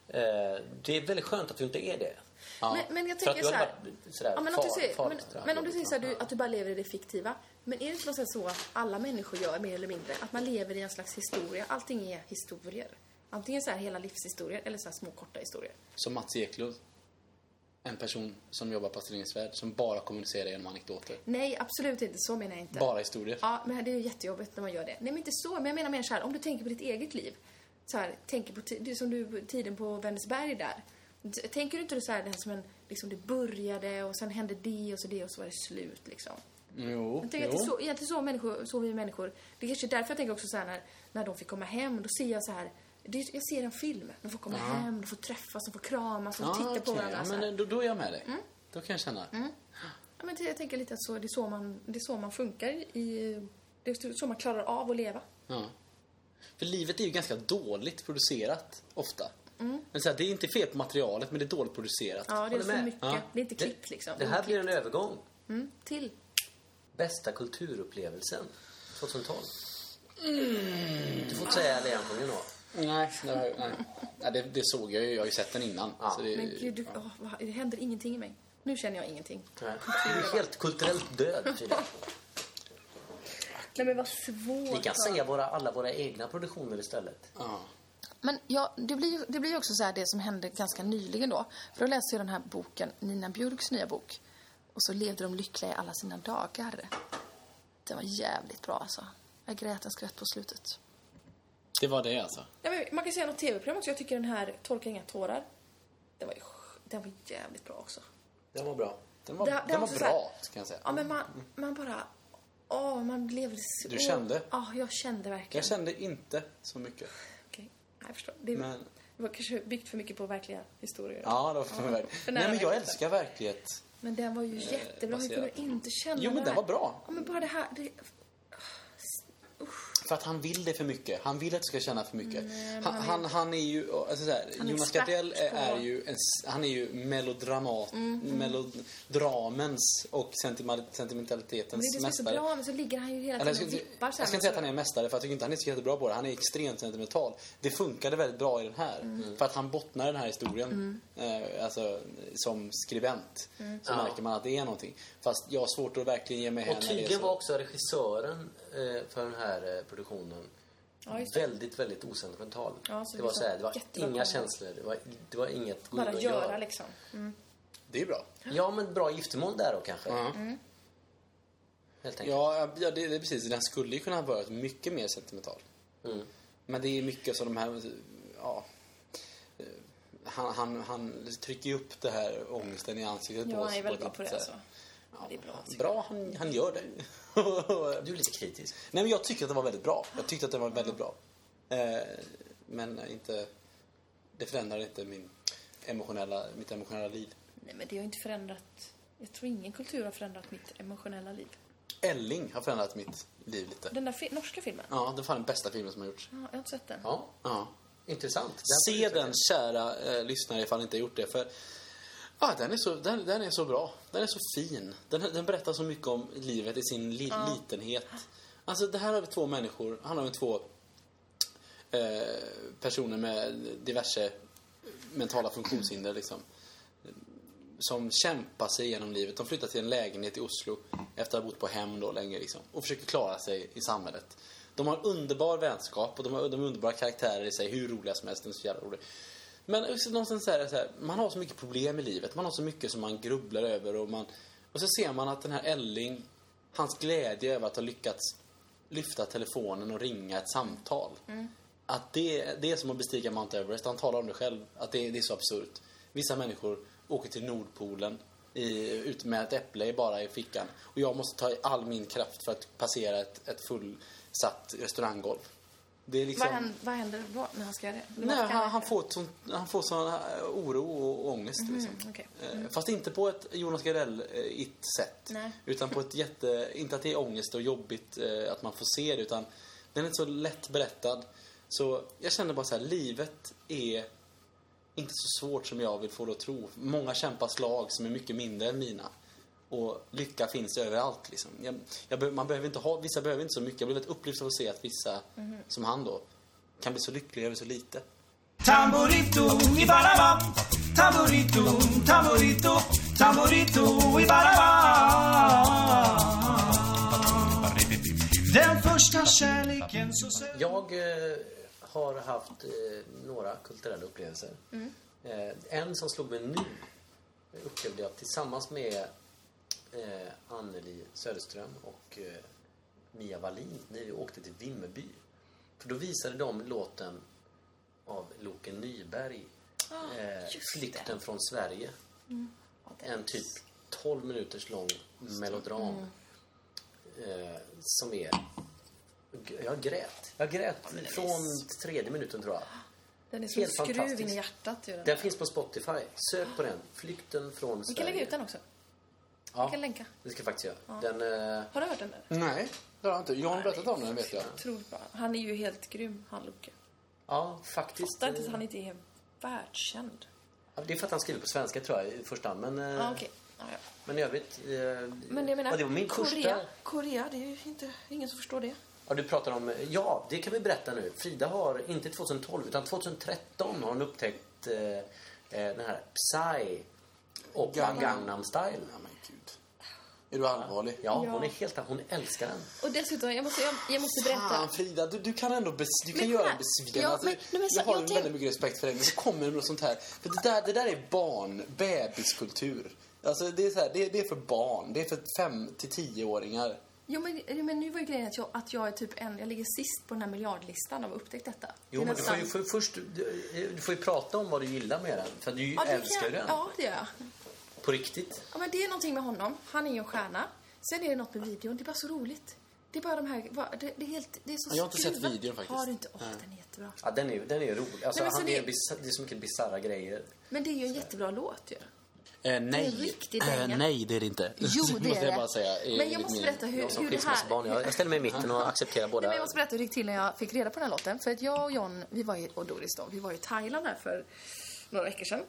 Speaker 4: Eh, det är väldigt skönt att du inte är det.
Speaker 2: Men, men jag
Speaker 4: För att
Speaker 2: tänker
Speaker 4: du
Speaker 2: så
Speaker 4: hade
Speaker 2: här...
Speaker 4: varit sådär
Speaker 2: Ja, men, om du
Speaker 4: far-
Speaker 2: säger,
Speaker 4: far-
Speaker 2: men,
Speaker 4: sådär
Speaker 2: men om du
Speaker 4: jobbigt.
Speaker 2: säger så här, du, att du bara lever i det fiktiva. Men är det inte på något sätt så att alla människor gör mer eller mindre? Att man lever i en slags historia. Allting är historier. Antingen så här hela livshistorier eller så här små korta historier.
Speaker 1: som Mats Eklund. En person som jobbar på Astrid Lindgrens Värld som bara kommunicerar genom anekdoter.
Speaker 2: Nej, absolut inte. Så menar jag inte.
Speaker 1: Bara historier.
Speaker 2: Ja, men det är ju jättejobbigt när man gör det. Nej, men inte så. Men jag menar mer så här, om du tänker på ditt eget liv. Så här, tänker på ti- det är som du, tiden på Vänersberg där. T- Tänker du inte så här, det här som en liksom det började och sen hände det och så det och så var det slut liksom.
Speaker 1: Jo,
Speaker 2: Jag tänker att det är så, egentligen så, människor, så vi människor. Det är kanske är därför jag tänker också så här när, när de fick komma hem. Då ser jag så här. Det, jag ser en film. De får komma hem, de får träffas, de får kramas, de får
Speaker 1: Ah,
Speaker 2: titta på
Speaker 1: okej.
Speaker 2: varandra.
Speaker 1: Ja,
Speaker 2: så här. Mm.
Speaker 1: men då, då är jag med dig. Då kan jag känna.
Speaker 2: Ja, men det- jag tänker lite att så, det, är så man, det är så man funkar i... Det är så man klarar av att leva.
Speaker 1: Ja. För livet är ju ganska dåligt producerat ofta. Men så här, det är inte fel på materialet, men det är dåligt producerat.
Speaker 2: Mm. Ja, det är
Speaker 4: Håller
Speaker 2: för
Speaker 4: med.
Speaker 2: mycket.
Speaker 1: Ja.
Speaker 2: Det är inte klippt liksom.
Speaker 4: Det här blir en övergång.
Speaker 2: Mm, till.
Speaker 4: Bästa kulturupplevelsen 2012.
Speaker 2: Mm.
Speaker 4: Du får inte säga Lejonkungen då.
Speaker 1: Nej, nej, nej. nej det, det såg jag ju. Jag har ju sett den innan.
Speaker 4: Ja.
Speaker 1: Så det,
Speaker 2: Men gud, du, åh, vad- det händer ingenting i mig. Nu känner jag ingenting.
Speaker 4: Du är helt kulturellt död, Frida.
Speaker 2: Nej men vad svårt.
Speaker 4: Vi kan säga våra, alla våra egna produktioner istället.
Speaker 1: ja.
Speaker 2: Men ja, det blir ju det blir ju också så här det som hände ganska nyligen då. För då läste jag den här boken, Nina Björks nya bok. Och så levde de lyckliga i alla sina dagar. Den var jävligt bra alltså. Jag grät en skvätt på slutet.
Speaker 1: det var det alltså.
Speaker 2: Ja, men man kan säga något tv-program också. Jag tycker den här Torka inga tårar. Den var, ju sj- den var jävligt bra också.
Speaker 4: Den var bra.
Speaker 1: Den var,
Speaker 2: Det- det
Speaker 1: den var
Speaker 2: också så här-
Speaker 1: bra, kan jag säga. Mm.
Speaker 2: Ja, men man, man bara... Åh, man blev... så-
Speaker 1: Du kände?
Speaker 2: Ja, jag kände verkligen.
Speaker 1: Jag kände inte så mycket.
Speaker 2: Okej. Nej, jag förstår. Det,
Speaker 1: Men-
Speaker 2: det var kanske byggt för mycket på verkliga historier.
Speaker 1: Ja, det var för mig.
Speaker 2: För nära
Speaker 1: Nej, men jag
Speaker 2: verkligheten.
Speaker 1: älskar verklighet.
Speaker 2: Men den var ju jättebra. Hur kunde
Speaker 1: Eh, baserat.
Speaker 2: du inte känna
Speaker 1: Jo, men
Speaker 2: det
Speaker 1: den
Speaker 2: här?
Speaker 1: var bra.
Speaker 2: Ja, men bara det här... Det,
Speaker 1: För att han vill det för mycket. Han vill att du ska känna för mycket. han, han, han är ju... Alltså så här,
Speaker 2: Han är
Speaker 1: Jonas
Speaker 2: expert
Speaker 1: Gardell är,
Speaker 2: på- Mm,
Speaker 1: är ju, en, s- han är ju melodramat, melodramens och sentimal-
Speaker 2: det är
Speaker 1: sentimentalitetens
Speaker 2: det som är så
Speaker 1: mästare.
Speaker 2: bra. Men så ligger Alltså, han ju hela
Speaker 1: Eller,
Speaker 2: tiden
Speaker 1: jag, ska
Speaker 2: och
Speaker 1: inte,
Speaker 2: vippar.
Speaker 1: jag
Speaker 2: så här,
Speaker 1: ska inte säga att han är en mästare för jag tycker inte han är så jättebra på det. Han är extremt sentimental. Det funkade väldigt bra i den här.
Speaker 2: Mm.
Speaker 1: För att han bottnar i den här historien. Eh, alltså som skribent.
Speaker 2: Mm.
Speaker 1: Så
Speaker 4: Ja.
Speaker 1: märker man att det är någonting. Fast jag har svårt att verkligen ge mig hän
Speaker 4: Och
Speaker 1: när det är
Speaker 4: tydligen
Speaker 1: så.
Speaker 4: var också regissören eh, för den här eh, produktionen
Speaker 2: Ja, just det.
Speaker 4: väldigt, väldigt osentimental.
Speaker 2: Ja, så
Speaker 4: det
Speaker 2: det
Speaker 4: var
Speaker 2: var
Speaker 4: så här, det var
Speaker 2: jättebra
Speaker 4: inga
Speaker 2: plan.
Speaker 4: känslor. Det var, det var inget gå in
Speaker 2: Bara
Speaker 4: och
Speaker 2: göra liksom. Mm.
Speaker 1: Det är bra.
Speaker 4: Ja, men bra giftermål där då kanske.
Speaker 2: Mm.
Speaker 4: Helt enkelt.
Speaker 1: Ja, ja det, det är precis. Den skulle ju kunna ha varit mycket mer sentimental.
Speaker 4: Mm.
Speaker 1: Men det är mycket som de här... Ja, eh, han, han, han trycker ju upp det här ångesten i ansiktet på
Speaker 2: Ja,
Speaker 1: oss.
Speaker 2: han är väldigt bra
Speaker 1: ett
Speaker 2: på det
Speaker 1: så här-
Speaker 2: alltså. Ja, det är bra.
Speaker 1: Bra, han, han gör det. [laughs]
Speaker 4: Du är lite kritisk.
Speaker 1: Nej, men jag tyckte att det var väldigt bra. Jag tyckte att det var väldigt bra. Eh, men inte... Det förändrade inte min emotionella, mitt emotionella liv.
Speaker 2: Nej, men det har ju inte förändrat... Jag tror ingen kultur har förändrat mitt emotionella liv.
Speaker 1: Elling har förändrat mitt liv lite.
Speaker 2: Den där fi- norska filmen. Ja.
Speaker 1: Ja, det var fan den bästa filmen som har gjorts.
Speaker 2: jag har inte sett den.
Speaker 4: Ja,
Speaker 1: Ja.
Speaker 4: intressant.
Speaker 1: Se den, kära eh, lyssnare, ifall ni inte har gjort det. För ah, den, är så, den, den är så bra. Den är så fin. Den, den berättar så mycket om livet i sin li, litenhet. Alltså, det här har vi två människor. Han har ju två eh, personer med diverse mentala funktionshinder. Liksom som kämpar sig igenom livet. De flyttar till en lägenhet i Oslo efter att ha bott på hem då länge liksom, och försöker klara sig i samhället. De har underbar vänskap och de har, de har underbara karaktärer i sig, hur roliga som helst. De är så jävla roliga. Men också någonstans så här, så här, man har så mycket problem i livet. Man har så mycket som man grubblar över och, man, och så ser man att den här Elling, hans glädje över att ha lyckats lyfta telefonen och ringa ett samtal.
Speaker 2: Mm.
Speaker 1: Att det, det är som att bestiga Mount Everest. Han talar om det själv. Att det, det är så absurt. Vissa människor åker till Nordpolen i, ut med ett äpple bara i fickan. Och jag måste ta i all min kraft för att passera ett, ett fullsatt restauranggolv. Det är liksom...
Speaker 2: Vad, händer, vad händer då när han ska göra det? Eller vad
Speaker 1: Nej,
Speaker 2: ska
Speaker 1: han,
Speaker 2: göra?
Speaker 1: han får sån, han får sån här oro och ångest.
Speaker 2: Mm-hmm.
Speaker 1: liksom.
Speaker 2: Mm, okej.
Speaker 1: Eh, Fast inte på ett Jonas Gardell-it sätt.
Speaker 2: Nej.
Speaker 1: Utan på ett jätte... Inte att det är ångest och jobbigt eh, att man får se det, utan den är inte så lätt berättad. Så jag känner bara så här, livet är inte så svårt som jag vill få det att tro. Många kämpar slag som är mycket mindre än mina. Och lycka finns överallt. Liksom. Jag, jag, be- man behöver inte ha, vissa behöver inte så mycket. Jag blev väldigt upplyft av att se att vissa, som han då, kan bli så lyckliga över så lite.
Speaker 3: Tamburito i Barabam Tamburito, tamburito, tamburito i Barabam Den första kärleken så säger
Speaker 4: Jag eh, har haft eh, några kulturella upplevelser. Eh, en som slog mig nu upplevde jag tillsammans med eh, Anneli Söderström och eh, Mia Wallin när vi åkte till Vimmerby. För då visade de låten av Loke Nyberg, eh,
Speaker 2: just det. Mm.
Speaker 4: Flykten från Sverige.
Speaker 2: det är
Speaker 4: en typ 12 minuters lång melodram.
Speaker 2: Mm.
Speaker 4: Eh, som är... G- Jag grät. Jag grät från tredje minuten tror jag.
Speaker 2: Den är som en
Speaker 4: Helt
Speaker 2: skruv in
Speaker 4: fantastisk.
Speaker 2: i hjärtat. Ju, den.
Speaker 4: Den finns på Spotify. Sök på den. Flykten från
Speaker 2: Vi kan lägga ut den också.
Speaker 4: Ja,
Speaker 2: vi kan länka.
Speaker 4: Det ska jag faktiskt göra. Den, eh,
Speaker 2: Har du hört den? Där?
Speaker 1: Nej, det har jag inte. Jag har berättat om den, vet jag.
Speaker 2: Otroligt bra. Han är ju helt grym, han Loke.
Speaker 4: ja, faktiskt.
Speaker 2: Fattar inte
Speaker 4: eh,
Speaker 2: att han inte är världskänd.
Speaker 4: Ja, Det är för att han skriver på svenska tror jag i första hand. Men, eh,
Speaker 2: Ja, okej. Ja, ja.
Speaker 4: men i övrigt... eh,
Speaker 2: Men jag menar,
Speaker 4: ja, det var min
Speaker 2: Korea,
Speaker 4: första...
Speaker 2: Korea, det är ju inte, ingen som förstår det.
Speaker 4: Ja, du pratar om... eh, Ja, det kan vi berätta nu. Frida har, inte 2012, utan 2013 har hon upptäckt eh, eh, den här Psy och
Speaker 1: Gangnam.
Speaker 4: Gangnam Style.
Speaker 1: Ja, men gud. Är du allvarlig?
Speaker 4: Ja,
Speaker 2: Ja.
Speaker 4: hon är helt... Hon älskar den.
Speaker 2: Och dessutom, jag måste, jag, jag måste
Speaker 1: Fan
Speaker 2: berätta.
Speaker 1: Frida, du, du kan ändå bes, du kan
Speaker 2: Men
Speaker 1: göra
Speaker 2: kolla.
Speaker 1: en besviken.
Speaker 2: Ja,
Speaker 1: alltså,
Speaker 2: men- men så-
Speaker 1: jag har
Speaker 2: jag
Speaker 1: en
Speaker 2: tänk-
Speaker 1: väldigt mycket respekt för dig, men så kommer det något sånt här. För det där, det där är barn, bebiskultur. Alltså det är, så här, det, det är för barn, det är för fem till tioåringar.
Speaker 2: Jo, men, men nu var ju grejen att jag, att jag är typ en, jag ligger sist på den här miljardlistan av upptäckt detta. Det
Speaker 4: Jo,
Speaker 2: är
Speaker 4: men du får,
Speaker 2: nästan-
Speaker 4: ju, får, först, du, du får ju prata om vad du gillar med den. För du
Speaker 2: ja, det
Speaker 4: älskar ju
Speaker 2: kan-
Speaker 4: den.
Speaker 2: Ja, det gör jag.
Speaker 4: På riktigt.
Speaker 2: Ja, men det är någonting med honom. Han är ju en stjärna. Sen är det något med videon. Det är bara så roligt. Det är bara de här... va- Det, det är, helt, det är så
Speaker 1: Jag har inte sett
Speaker 2: skruvat.
Speaker 1: videon faktiskt.
Speaker 2: Har du inte? Åh, den är jättebra.
Speaker 4: Ja, den är ju den är ju rolig. Alltså,
Speaker 2: Nej, men så
Speaker 4: han
Speaker 2: det-
Speaker 4: är bisar, det är så mycket bisarra grejer.
Speaker 2: Men det är ju en jättebra låt ju.
Speaker 1: Eh, nej.
Speaker 2: en riktig
Speaker 4: Äh,
Speaker 2: dänga.
Speaker 1: nej, [laughs] det är det inte.
Speaker 2: Jo,
Speaker 1: måste
Speaker 2: det är
Speaker 1: jag
Speaker 2: det.
Speaker 1: bara säga. eh,
Speaker 2: Men jag
Speaker 1: enligt
Speaker 2: måste
Speaker 1: min-
Speaker 2: berätta hur,
Speaker 4: Jag som
Speaker 2: hur det här...
Speaker 4: skilsmässobarn, jag, jag ställer mig i mitten och accepterar båda.
Speaker 2: Nej, men jag måste berätta hur det gick till när jag fick reda på den här låten. För att jag och John, vi var i, och Doris då, vi var i Thailand här för några veckor sedan.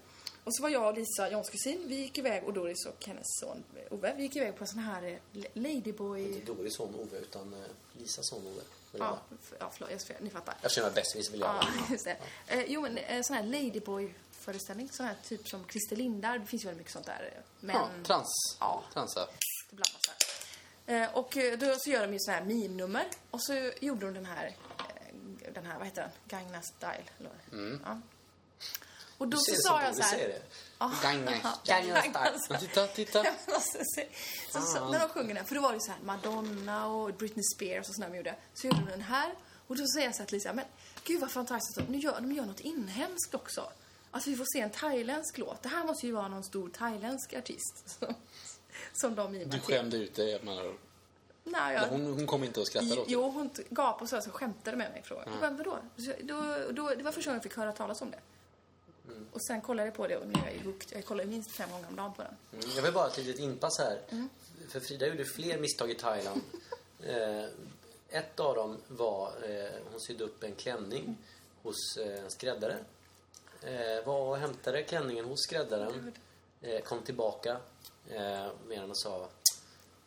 Speaker 2: Och så var jag och Lisa, Johns kusin, vi gick iväg och Doris och hennes son Ove, vi gick iväg på en sån här eh, Ladyboy...
Speaker 4: Inte Doris son Ove, utan eh, Lisas son Ove. Men
Speaker 2: Ja,
Speaker 4: jag-
Speaker 2: f- ja förlåt, jag fel, ni fattar.
Speaker 4: Jag känner mig bäst, vill jag.
Speaker 2: Ja, [laughs] just det. Eh, jo, men eh, sån här Ladyboy-föreställning, sån här typ som Christer Lindar, det finns ju väldigt mycket sånt där. eh, Men...
Speaker 1: Ja, trans.
Speaker 2: Ja.
Speaker 1: Transa.
Speaker 2: Det blandas här. Eh, Och eh, då så gör de ju så här mimnummer och så gjorde de den här, eh, den här, vad heter den? Gangnam style. eller vad det är. Ja. Och då
Speaker 4: Mm. Du
Speaker 2: så
Speaker 4: ser det
Speaker 2: sa
Speaker 4: som
Speaker 2: jag så
Speaker 4: Doris säger
Speaker 2: här.
Speaker 4: det.
Speaker 2: Ja. [laughs]
Speaker 1: Gangnam-
Speaker 2: Gangnam
Speaker 4: Gangnam
Speaker 2: style.
Speaker 1: Titta, titta.
Speaker 2: Ja, men [laughs] alltså, se. Så, så, när de sjunger den, för då var det så här Madonna och Britney Spears och sådana de gjorde. Så gjorde de den här. Och då säger jag så här till Lisa, men gud vad fantastiskt. att De gör, de gör något inhemskt också. Alltså vi får se en thailändsk låt. Det här måste ju vara någon stor thailändsk artist. Som, som de mimar
Speaker 1: Du
Speaker 2: till.
Speaker 1: skämde ut dig. man har-
Speaker 2: Nej, jag...
Speaker 1: Hon, hon kommer inte att skratta då.
Speaker 2: Jo, hon t- gapade och så, så skämtade med mig. Frågan. Jag bara, vadå? Så, då, då, det var första gången jag fick höra talas om det.
Speaker 1: Mm.
Speaker 2: Och sen kollade jag på det och nu är jag ju hooked. Jag kollar ju minst fem gånger om dagen på den.
Speaker 4: Mm, Jag vill bara ha ett litet inpass här. För Frida gjorde fler misstag i Thailand. eh, ett av dem var eh, hon sydde upp en klänning hos eh, en skräddare. Eh, var och hämtade klänningen hos skräddaren. Eh, kom tillbaka eh, med den och sa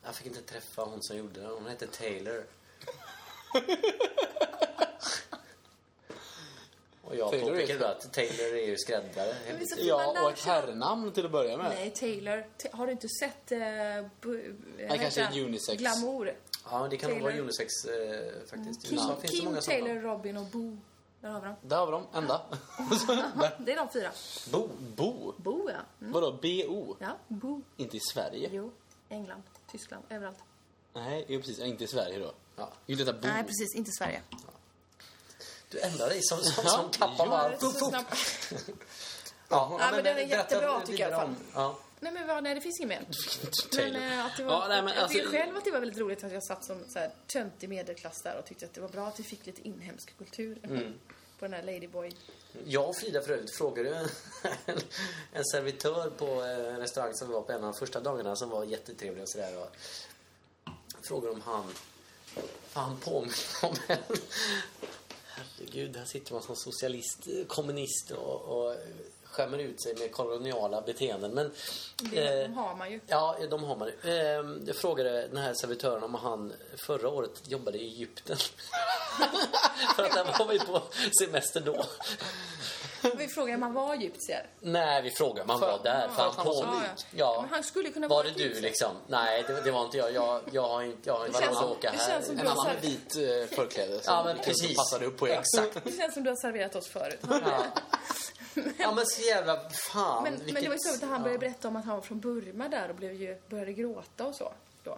Speaker 4: jag fick inte träffa hon som gjorde den. Hon
Speaker 1: [laughs]
Speaker 4: hette Taylor. och jag
Speaker 1: Taylor är
Speaker 4: påpekade då
Speaker 1: skräddare.
Speaker 4: att Taylor är ju skräddare.
Speaker 2: Men så får man
Speaker 1: Ja, och
Speaker 2: namn
Speaker 1: ett
Speaker 2: så-
Speaker 1: herrnamn till att börja med.
Speaker 2: Nej, Taylor. Ta- har du inte sett... Eh, bu- eh, vad
Speaker 1: kanske
Speaker 2: heter han?
Speaker 1: en unisex.
Speaker 2: Glamour.
Speaker 4: Ja, det kan nog
Speaker 2: Taylor.
Speaker 4: vara unisex eh, faktiskt. I
Speaker 1: Mm.
Speaker 2: Kim,
Speaker 4: USA finns det
Speaker 2: Kim
Speaker 4: många sådana.
Speaker 2: Taylor, Robin och Bo. Där har vi dem.
Speaker 1: Där har vi dem.
Speaker 2: [laughs]
Speaker 1: Ända. Där.
Speaker 2: Det är de fyra.
Speaker 1: Bo. Bo.
Speaker 2: Bo, ja. Mm.
Speaker 1: Vadå, B-O?
Speaker 2: Ja, Bo.
Speaker 1: Inte i Sverige?
Speaker 2: Jo. England, Tyskland, överallt.
Speaker 1: Nej, jo, precis. Inte i Sverige då.
Speaker 4: Ja.
Speaker 1: Det är ju detta bo.
Speaker 2: Nej, precis. Inte Sverige.
Speaker 4: Du ändrar dig som, som,
Speaker 1: Ja.
Speaker 4: som kappan bara.
Speaker 2: Ja,
Speaker 4: Puff,
Speaker 2: så
Speaker 4: puff.
Speaker 2: snabbt.
Speaker 4: Ja,
Speaker 2: men den är
Speaker 4: berätta
Speaker 2: jättebra, tycker jag i alla
Speaker 4: vidare om- Ja.
Speaker 2: Nej, men vad, nej, det finns inget mer. Men,
Speaker 1: Taylor.
Speaker 2: eh, att det var,
Speaker 1: Ja, nej, men
Speaker 2: jag tycker
Speaker 1: alltså-
Speaker 2: själv att det var väldigt roligt att jag satt som så här, töntig medelklass där och tyckte att det var bra att vi fick lite inhemsk kultur
Speaker 4: Mm.
Speaker 2: [laughs] på den här Ladyboy.
Speaker 4: Jag och Frida för övrigt frågade ju en, [laughs] en servitör på eh, en restaurang som vi var på en av de första dagarna som var jättetrevlig och sådär. och Frågade om han... Fan, han påminner om [laughs] en... Herregud, här sitter man som socialist, eh, kommunist och, och skämmer ut sig med koloniala beteenden. Men,
Speaker 2: Det
Speaker 4: eh,
Speaker 2: har man ju.
Speaker 4: Ja, de har man ju. Ehm, Jag frågade den här servitören om han förra året jobbade i Egypten. [laughs] För att han var ju på semester då.
Speaker 2: Vi frågade om han var egyptier.
Speaker 4: Nej, vi frågade om han var där. För han
Speaker 1: var så
Speaker 4: påminde-
Speaker 2: lik.
Speaker 4: Ja.
Speaker 2: Men han skulle kunna
Speaker 4: Var
Speaker 2: vara
Speaker 4: det du
Speaker 2: egyptier.
Speaker 4: liksom? Nej, det, det var inte jag. Jag, jag har inte, jag har inte
Speaker 2: känns
Speaker 4: råd att
Speaker 2: som-
Speaker 4: åka
Speaker 2: det
Speaker 4: här.
Speaker 2: känns som-
Speaker 1: En annan med vit eh, förkläde som
Speaker 4: Ja, men
Speaker 1: inte
Speaker 4: precis.
Speaker 1: passade upp på er.
Speaker 4: Exakt.
Speaker 2: Det känns som du har serverat oss förut.
Speaker 4: Ja. ja, men så jävla fan.
Speaker 2: Men, men det var ju
Speaker 4: vilket-
Speaker 2: så att han började berätta om att han var från Burma där och blev ju, började gråta och så. Då.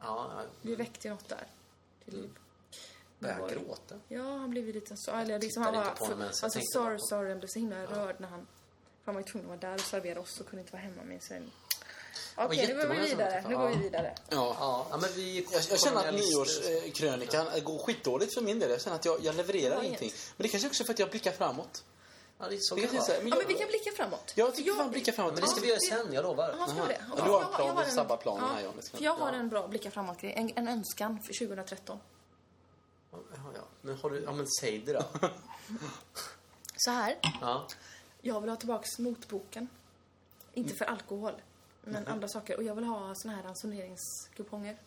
Speaker 4: Ja, ja.
Speaker 2: Vi väckte ju något där. Till liv.
Speaker 4: Mm. Började han
Speaker 2: Det var-
Speaker 4: gråta?
Speaker 2: Ja, han blev ju lite så... Eller liksom
Speaker 4: tittar
Speaker 2: han var...
Speaker 4: inte på honom
Speaker 2: för-
Speaker 4: ens, jag
Speaker 2: Alltså
Speaker 4: tänkte bara
Speaker 2: sorry,
Speaker 4: på-
Speaker 2: sorry, han blev så himla rörd när han... för Han var ju tvungen att vara där och servera oss och kunde inte vara hemma med sin... Okej, nu går
Speaker 4: jättemånga
Speaker 2: vi
Speaker 4: som
Speaker 2: vidare.
Speaker 4: träffade-
Speaker 2: Nu går vi
Speaker 4: ja.
Speaker 2: vidare.
Speaker 1: [laughs] Ja.
Speaker 4: Ja, men vi
Speaker 1: Jag, jag känner att
Speaker 4: kolonialister-
Speaker 1: nyårskrönikan eh, går skitdåligt för min del. Jag känner att jag, jag levererar
Speaker 2: vet.
Speaker 1: ingenting. Men det kanske också är för att jag blickar framåt.
Speaker 4: Ja, det är så
Speaker 1: Det
Speaker 4: kan
Speaker 1: kanske är så här, men
Speaker 4: vara.
Speaker 2: Ja,
Speaker 1: jag,
Speaker 2: men vi kan blicka framåt.
Speaker 1: jag tycker fan blicka framåt.
Speaker 4: Men det ska vi göra sen, jag
Speaker 2: Ja,
Speaker 4: lovar.
Speaker 2: ska vi det?
Speaker 1: Ja, du har en plan, du sabbar planen här, Johnny.
Speaker 2: För jag har en bra blicka framåt-grej. En, en önskan för 2013.
Speaker 4: Ja, ja. Men, har du, ja, men säg det då.
Speaker 2: Så här.
Speaker 4: Ja.
Speaker 2: Jag vill ha tillbaks motboken. Inte
Speaker 1: Mm.
Speaker 2: för alkohol, men
Speaker 1: Mm-hmm.
Speaker 2: andra saker. Och jag vill ha såna här ransoneringskuponger.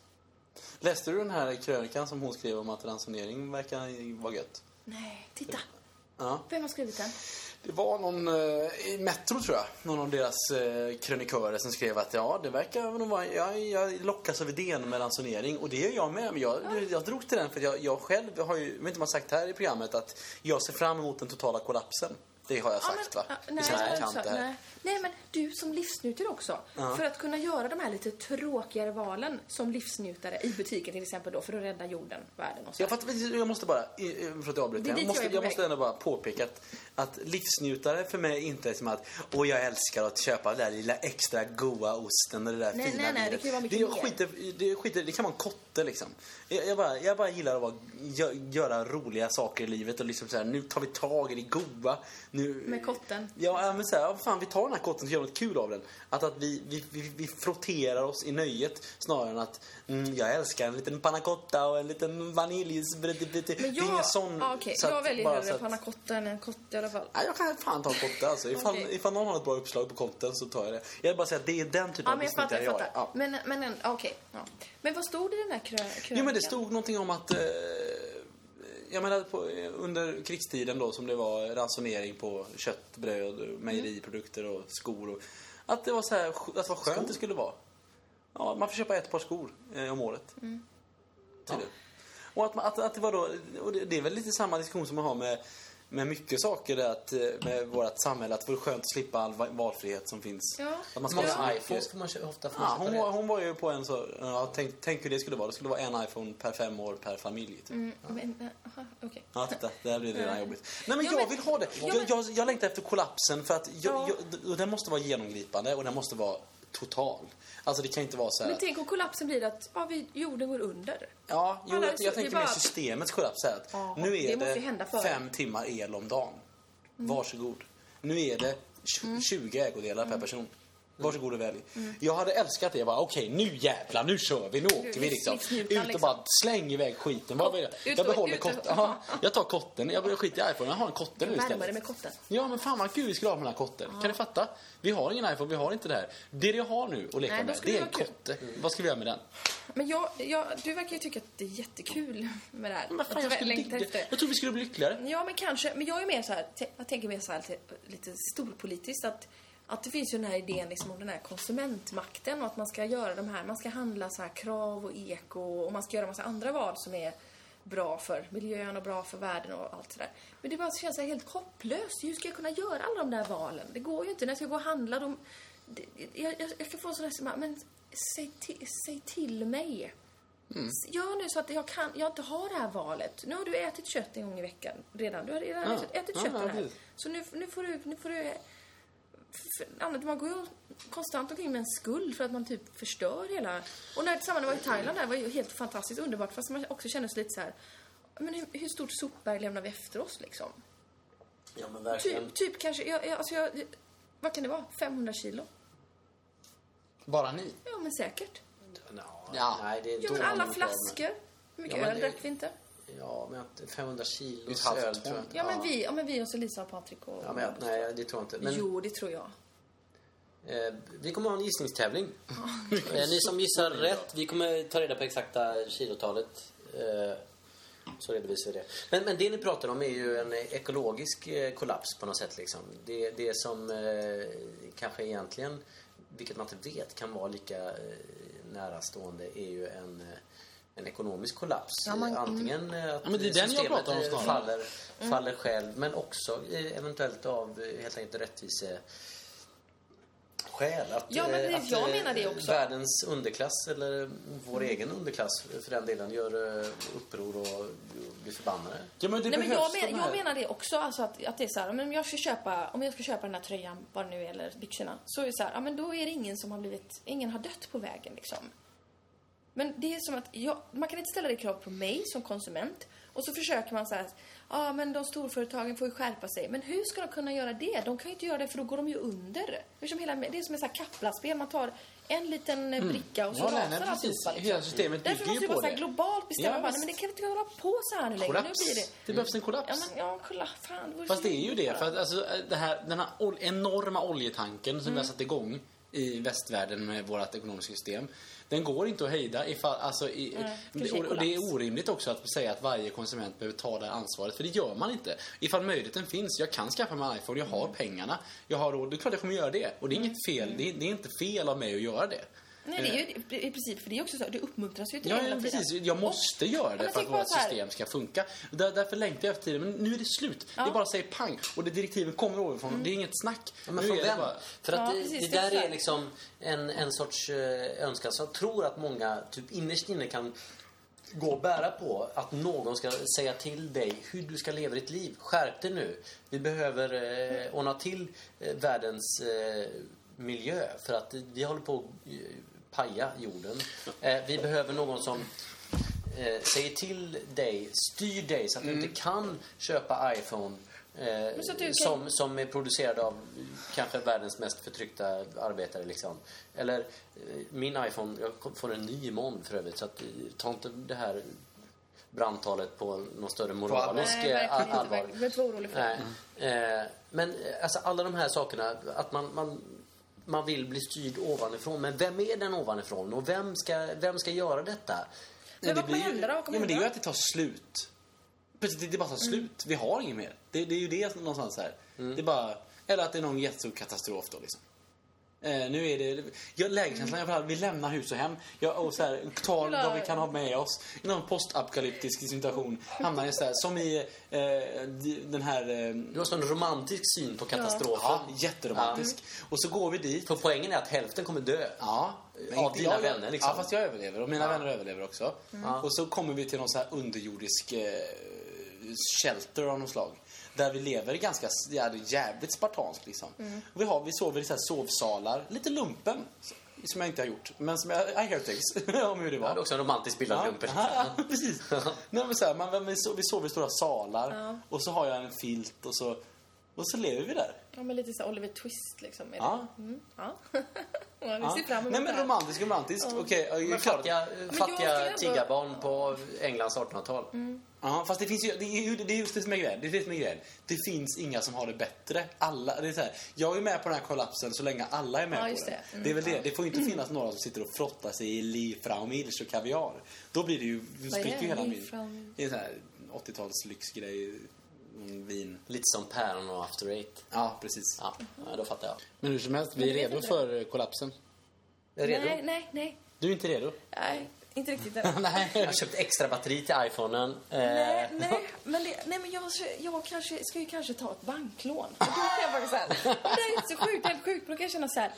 Speaker 1: Läste du den här krönikan som hon skrev om att ransonering verkar vara gött?
Speaker 2: Nej, titta!
Speaker 1: Ja.
Speaker 2: Vem har skrivit den?
Speaker 1: Det var någon eh, i Metro tror jag, någon av deras eh, krönikörer som skrev att ja, det verkar nog vara, jag, jag lockas av idén med ransonering och det är jag med. Men jag, jag drog till den för jag, jag själv har ju, jag vet inte om jag har sagt här i programmet, att jag ser fram emot den totala kollapsen. Det har jag
Speaker 2: Ja,
Speaker 1: sagt va?
Speaker 2: men- ja, nej,
Speaker 1: det känns
Speaker 2: nej,
Speaker 1: bekant det
Speaker 2: alltså,
Speaker 1: här.
Speaker 2: nej. nej, men du som livsnjutare också. För att kunna göra de här lite tråkigare valen som livsnjutare i butiken till exempel då, för att rädda jorden, världen och så.
Speaker 1: Jag, fattar, jag måste bara, i- i- förlåt jag avbryter,
Speaker 2: Det är dit
Speaker 1: jag måste,
Speaker 2: jag är på
Speaker 1: jag måste
Speaker 2: väg.
Speaker 1: ändå bara påpeka att, att livsnjutare för mig inte är som att åh jag älskar att köpa den där lilla extra goa osten och det där
Speaker 2: Nej,
Speaker 1: fina
Speaker 2: nej, nej, det
Speaker 1: vinet."
Speaker 2: kan ju vara mycket
Speaker 1: det, jag
Speaker 2: mer.
Speaker 1: skiter, det, skiter, det kan vara en kotte liksom. Jag, jag, bara, jag bara gillar att vara, gö, göra roliga saker i livet och liksom så här, nu tar vi tag i det goa. Nu,
Speaker 2: Med kotten.
Speaker 1: Ja, ja, men så här, ja, fan vi tar den här kotten och gör något kul av den. Att, att vi, vi, vi, vi frotterar oss i nöjet snarare än att mm, jag älskar en liten panacotta och en liten vanilj. Det
Speaker 2: Men jag,
Speaker 1: är ingen sån...
Speaker 2: ja, okej,
Speaker 1: så att-
Speaker 2: jag väljer
Speaker 1: bara
Speaker 2: hellre
Speaker 1: så att-
Speaker 2: pannacotta än en kotte i alla fall.
Speaker 1: Nej, jag kan fan ta en kotte alltså. Ifall,
Speaker 2: Okej.
Speaker 1: ifall någon har ett bra uppslag på kotten så tar jag det. Jag vill bara säga att det är den typen
Speaker 2: Ja,
Speaker 1: av
Speaker 2: men jag
Speaker 1: besnittare
Speaker 2: fattar, jag
Speaker 1: är.
Speaker 2: fattar.
Speaker 1: Ja.
Speaker 2: Men, men en- ja, okej. ja. Men vad stod det i den här krö krönikan?
Speaker 1: Jo, men det stod någonting om att... Eh, jag menar, på, eh, under krigstiden då som det var ransonering på kött, bröd, och mejeriprodukter och skor. Och, att det var så här, att det var skönt det skulle vara. Ja, man får köpa ett par skor eh, om året.
Speaker 2: Mm.
Speaker 1: Tydligen. Och att, man- att, att det var då, och det, det är väl lite samma diskussion som man har med, med mycket saker där att, eh, med vårt samhälle. Att det vore skönt att slippa all va- valfrihet som finns.
Speaker 2: Ja.
Speaker 1: Att man ska
Speaker 4: Många
Speaker 1: ha så mycket-
Speaker 4: iPhones får man kö- ofta får
Speaker 1: Ja,
Speaker 4: man
Speaker 1: hon,
Speaker 4: köpa
Speaker 1: var,
Speaker 4: det.
Speaker 1: hon var ju på en så... Ja, tänk, tänk hur det skulle vara. Det skulle vara en iPhone per fem år per familj. Typ.
Speaker 2: Mm, men, eh, aha, okej.
Speaker 1: Ja, titta. Det här blir redan
Speaker 2: Nej.
Speaker 1: jobbigt. Nej, men
Speaker 2: Ja,
Speaker 1: jag
Speaker 2: men-
Speaker 1: vill ha det.
Speaker 2: ja,
Speaker 1: Jag,
Speaker 2: men-
Speaker 1: jag, jag längtar efter kollapsen för att jag,
Speaker 2: Ja.
Speaker 1: jag, och den måste vara genomgripande och den måste vara total. Alltså det kan inte vara så här...
Speaker 2: Men tänk om kollapsen blir att ja, vi, jorden går under.
Speaker 1: Ja, jo,
Speaker 2: Alla-
Speaker 1: jag, jag
Speaker 2: det
Speaker 1: tänker
Speaker 2: bara-
Speaker 1: mer systemets kollaps här. Att
Speaker 2: Ja,
Speaker 1: nu
Speaker 2: det
Speaker 1: är
Speaker 2: måste
Speaker 1: det,
Speaker 2: ju hända Mm. före.
Speaker 1: fem timmar el om dagen. Varsågod. Nu är det tj-
Speaker 2: Mm.
Speaker 1: 20 ägodelar per person. Varsågod och välj. Jag hade älskat det. Jag bara, okej, nu jävlar, nu kör vi. Nu åker vi liksom.
Speaker 2: livsnjutan,
Speaker 1: Ut och
Speaker 2: liksom.
Speaker 1: bara släng iväg skiten. Vad
Speaker 2: Ut-
Speaker 1: vill jag? jag
Speaker 2: ut och-
Speaker 1: behåller
Speaker 2: ut och-
Speaker 1: kotten. Ja,
Speaker 2: [laughs]
Speaker 1: jag tar kotten. Jag börjar skita i iPhone. Jag har en kotte nu
Speaker 2: Värmare
Speaker 1: istället.
Speaker 2: med kotten.
Speaker 1: Ja, men fan vad kul vi skulle ha med den här kotten. Kan du fatta? Vi har ingen iPhone, vi har inte det här. Det jag har nu att leka
Speaker 2: Nej, då
Speaker 1: med,
Speaker 2: skulle
Speaker 1: det är
Speaker 2: det
Speaker 1: en
Speaker 2: vara
Speaker 1: kotte. Vad ska vi göra med den?
Speaker 2: Men jag, jag, du verkar ju tycka att det är jättekul med det här.
Speaker 1: Men fan,
Speaker 2: Att
Speaker 1: jag,
Speaker 2: du
Speaker 1: skulle
Speaker 2: längtar
Speaker 1: digga-
Speaker 2: efter.
Speaker 1: jag tror vi skulle bli lyckligare.
Speaker 2: Ja, men kanske. Men jag är mer så här, t- jag tänker mer så här lite, lite storpolitiskt att, att det finns ju den här idén liksom om den här konsumentmakten och att man ska göra de här, man ska handla så här krav och eko och man ska göra massa andra val som är bra för miljön och bra för världen och allt sådär. Men det bara känns så här helt hopplöst. Hur ska jag kunna göra alla de där valen? Det går ju inte. När jag ska gå och handla, de, det- jag, jag, jag kan få sådana här, som bara, men säg, till- säg till mig. S- Gör nu så att jag, kan, jag inte har det här valet. Nu har du ätit kött en gång i veckan redan. Du har redan
Speaker 1: Ja.
Speaker 2: ätit, ätit
Speaker 1: Ja,
Speaker 2: kött
Speaker 1: ja,
Speaker 2: den här.
Speaker 1: precis.
Speaker 2: Så nu, nu får du... Nu får du för, annat, man går ju konstant omkring med en skuld för att man typ förstör hela... Och när detsamma när jag var i Thailand där var ju helt fantastiskt underbart fast man också kände sig lite så här... Men hur, hur stort sopberg lämnar vi efter oss liksom?
Speaker 4: Ja, men
Speaker 2: Typ, typ kanske... Jag, jag, alltså jag, vad kan det vara? 500 kilo?
Speaker 1: Bara ni?
Speaker 2: Ja men säkert.
Speaker 4: Nå,
Speaker 1: Ja.
Speaker 4: Nej, det är
Speaker 2: Ja men
Speaker 4: dålig
Speaker 2: alla
Speaker 4: form.
Speaker 2: flaskor. Hur mycket
Speaker 4: Ja, men
Speaker 2: öl
Speaker 4: det-
Speaker 2: drack vi inte?
Speaker 4: Ja, men att 500 kilo
Speaker 1: Ett halvt
Speaker 4: öl
Speaker 1: ton.
Speaker 4: tror jag inte.
Speaker 2: Ja men, vi, ja, men vi och så Lisa och Patrik och...
Speaker 4: Ja, men, jag- nej, det tror jag inte. Men,
Speaker 2: Jo, det tror jag.
Speaker 4: Eh, vi kommer ha
Speaker 2: [laughs]
Speaker 4: en gissningstävling. eh, ni som gissar rätt, vi kommer ta reda på exakta kilotalet. Eh, så redovisar vi det. Men, men det ni pratar om är ju en eh, ekologisk eh, kollaps på något sätt. Liksom. Det, det som eh, kanske egentligen, vilket man inte vet, kan vara lika eh, närastående är ju en eh, en ekonomisk kollaps.
Speaker 2: Ja, man- Mm.
Speaker 4: Antingen eh, att
Speaker 1: Ja, men det är den jag
Speaker 4: systemet
Speaker 1: pratar om
Speaker 4: eh,
Speaker 1: snarare.
Speaker 4: faller, faller själv men också eh, eventuellt av eh, helt enkelt rättvise själ. Att,
Speaker 2: Ja, men
Speaker 4: eh,
Speaker 2: det-
Speaker 4: att,
Speaker 2: jag
Speaker 4: eh,
Speaker 2: menar det också.
Speaker 4: Världens underklass, eller vår egen underklass för den delen, gör eh, uppror och och blir förbannade.
Speaker 1: Ja, men det
Speaker 2: Nej, men
Speaker 1: behövs
Speaker 2: jag, men,
Speaker 1: de
Speaker 2: jag
Speaker 1: här.
Speaker 2: menar det också, alltså att, att det är så här, om jag, ska köpa, om jag ska köpa den här tröjan, vad det nu är, eller byxorna, så är det så här, ja, men då är det ingen som har blivit, ingen har dött på vägen liksom. Men det är som att, jag, man kan inte ställa det kravet på mig som konsument. Och så försöker man så här, ja men de storföretagen får ju skärpa sig. Men hur ska de kunna göra det? De kan ju inte göra det för då går de ju under. Hur som hela, det är som ett så här Kaplaspel, man tar en liten eh, bricka och så
Speaker 1: Mm. Ja, nej, nej,
Speaker 2: rasar
Speaker 1: precis.
Speaker 2: alltihopa.
Speaker 1: Hela
Speaker 2: Liksom.
Speaker 1: systemet
Speaker 2: Därför
Speaker 1: bygger
Speaker 2: måste
Speaker 1: ju
Speaker 2: vi
Speaker 1: på
Speaker 2: bara så här
Speaker 1: det.
Speaker 2: globalt bestämma,
Speaker 1: Ja,
Speaker 2: bara, nej,
Speaker 1: visst.
Speaker 2: men det kan vi inte hålla på så här nu längre.
Speaker 1: Kollaps.
Speaker 2: Nu blir det...
Speaker 1: Det behövs en kollaps.
Speaker 2: Ja, men, ja, kolla, fan. vore
Speaker 1: Fast
Speaker 2: så
Speaker 1: det är ju det.
Speaker 2: jättebra.
Speaker 1: För att, alltså, det här, den här ol- enorma oljetanken som vi
Speaker 2: Mm.
Speaker 1: har satt igång i västvärlden med vårt ekonomiska system. Den går inte att hejda. Ifall, alltså, i,
Speaker 2: kanske
Speaker 1: och, och det
Speaker 2: kollaps.
Speaker 1: är orimligt också att säga att varje konsument behöver ta det här ansvaret. För det gör man inte. Ifall möjligheten finns. Jag kan skaffa mig en iPhone. Jag
Speaker 2: Mm.
Speaker 1: har pengarna. Jag har råd. Det är klart jag kommer göra det. Och det är inget fel. Det är, det är inte fel av mig att göra det.
Speaker 2: Nej, det är ju det- i princip, för det är också så, det uppmuntras ju till
Speaker 1: Eh. Ja,
Speaker 2: det hela
Speaker 1: ja
Speaker 2: tiden.
Speaker 1: precis. Jag måste göra
Speaker 2: Ja,
Speaker 1: det
Speaker 2: men
Speaker 1: för
Speaker 2: tänk
Speaker 1: att
Speaker 2: bara
Speaker 1: vårt
Speaker 2: så här.
Speaker 1: system ska funka. Där, därför längtar jag efter tiden. Men nu är det slut. Det bara säger pang. Och det direktiven kommer ovanifrån.
Speaker 2: Mm.
Speaker 1: Det är inget snack.
Speaker 4: Ja, Men
Speaker 1: nu
Speaker 4: från
Speaker 1: är det
Speaker 4: vem?
Speaker 1: bara...
Speaker 4: För att
Speaker 2: Ja,
Speaker 4: det,
Speaker 2: precis,
Speaker 4: det
Speaker 2: det är
Speaker 4: där
Speaker 2: så här.
Speaker 4: är liksom en, en sorts eh, önskan som jag tror att många typ innerst inne kan gå och bära på. Att någon ska säga till dig hur du ska leva ditt liv. Skärp dig nu. Vi behöver eh, ordna till eh, världens eh, miljö. För att vi håller på att eh, paja jorden. Eh, vi behöver någon som eh, säger till dig, styr dig så att du inte kan köpa iPhone eh,
Speaker 2: så att du kan-
Speaker 4: som, som är producerad av kanske världens mest förtryckta arbetare. Liksom. Eller eh, min iPhone, jag kom- får en ny imorgon för övrigt så att, eh, ta inte det här brandtalet på någon större moralisk
Speaker 2: Nej,
Speaker 4: eh,
Speaker 2: verkligen inte.
Speaker 4: allvar.
Speaker 2: verkligen. Du behöver inte vara orolig för det.
Speaker 4: Nej. Eh, men eh, alltså, alla de här sakerna, att man, man, man vill bli styrd ovanifrån. Men vem är den ovanifrån och vem ska, vem ska göra detta?
Speaker 2: Men vad
Speaker 1: blir
Speaker 2: kommer
Speaker 1: ju-
Speaker 2: hända då? Vad kommer
Speaker 1: ja, men det är ju
Speaker 2: hända? Mm.
Speaker 1: att det tar slut. Precis, det, det bara tar slut. Vi har inget mer. Det, det är ju det som någonstans här. Det är bara... Eller att det är någon jättestor katastrof då liksom. Eh, nu är det... Jag, lägeskänslan överallt. Vi lämnar hus och hem. Jag, och så här, tar
Speaker 2: Hela-
Speaker 1: vad vi kan ha med oss. I någon postapokalyptisk situation hamnar jag så här. Som i eh, d- den här... Eh,
Speaker 4: Du har sån romantisk syn på katastrofen.
Speaker 1: ja, jätteromantisk.
Speaker 2: Mm.
Speaker 1: Och så går vi dit.
Speaker 4: För poängen är att hälften kommer dö.
Speaker 1: Ja,
Speaker 4: Men inte dina vänner, liksom.
Speaker 1: Ja, fast jag överlever och mina
Speaker 4: Ja. Mm.
Speaker 1: vänner överlever också. Och så kommer vi till någon så här underjordisk eh, shelter av något slag. Där vi lever ganska, ja, det är jävligt spartanskt liksom.
Speaker 4: Mm.
Speaker 1: Och vi, har, vi sover i så här sovsalar, lite lumpen. Som jag inte har gjort, men som jag, I hear things [laughs] om hur det
Speaker 4: Ja,
Speaker 1: var.
Speaker 4: det är också en romantisk bild av lumpen.
Speaker 1: Ja, ja, [laughs] precis. Nej, men så här, man, vi, sover, vi sover i stora salar och så har jag en filt och så, och så lever vi där.
Speaker 2: Ja, men lite så här Oliver Twist liksom. Är det.
Speaker 1: Ja.
Speaker 2: Mm, ja. ja, vi
Speaker 1: Ja.
Speaker 2: ser fram emot
Speaker 1: Nej
Speaker 2: det
Speaker 1: men
Speaker 2: här.
Speaker 1: romantisk, romantisk. Okej, ja, det är klart.
Speaker 4: Fattiga,
Speaker 2: jag
Speaker 4: fattiga
Speaker 2: skulle ändå-
Speaker 4: tiggarbarn på Englands 1800-tal.
Speaker 2: Mm.
Speaker 1: Ja, fast det finns ju, det är, ju- det är just det som är grejen. Det är det som är grejen. Det finns inga som har det bättre. Alla, det är så här, jag är med på den här kollapsen så länge alla är med
Speaker 2: Ja,
Speaker 1: på
Speaker 2: just
Speaker 1: den.
Speaker 2: det. Mm.
Speaker 1: Det är väl det. Det får ju inte finnas några som sitter och frottar sig i Liefraumilch och kaviar. Då blir det ju, då
Speaker 2: Vad är
Speaker 1: spricker ju hela min...
Speaker 2: Liefraumilch?
Speaker 1: Det är så här 80-tals lyxgrej. mm, Vin.
Speaker 4: Lite som päron och after eight.
Speaker 1: Ja, precis.
Speaker 4: Ja, ja, då fattar jag.
Speaker 1: Men hur som helst, vi är
Speaker 2: vet
Speaker 1: redo
Speaker 2: inte.
Speaker 1: för eh, kollapsen.
Speaker 4: Är du
Speaker 2: Nej,
Speaker 4: redo?
Speaker 2: nej, nej.
Speaker 1: Du är inte redo?
Speaker 2: Nej, inte
Speaker 1: [laughs]
Speaker 2: riktigt än.
Speaker 4: Jag har köpt extra batteri till iPhonen. Eh,
Speaker 2: Nej, nej, men, det, nej, men jag, jag kanske, ska ju kanske ta ett banklån. För Då kan jag bara så här, det här är inte så sjukt, helt sjukt. men Då kan jag känna så här.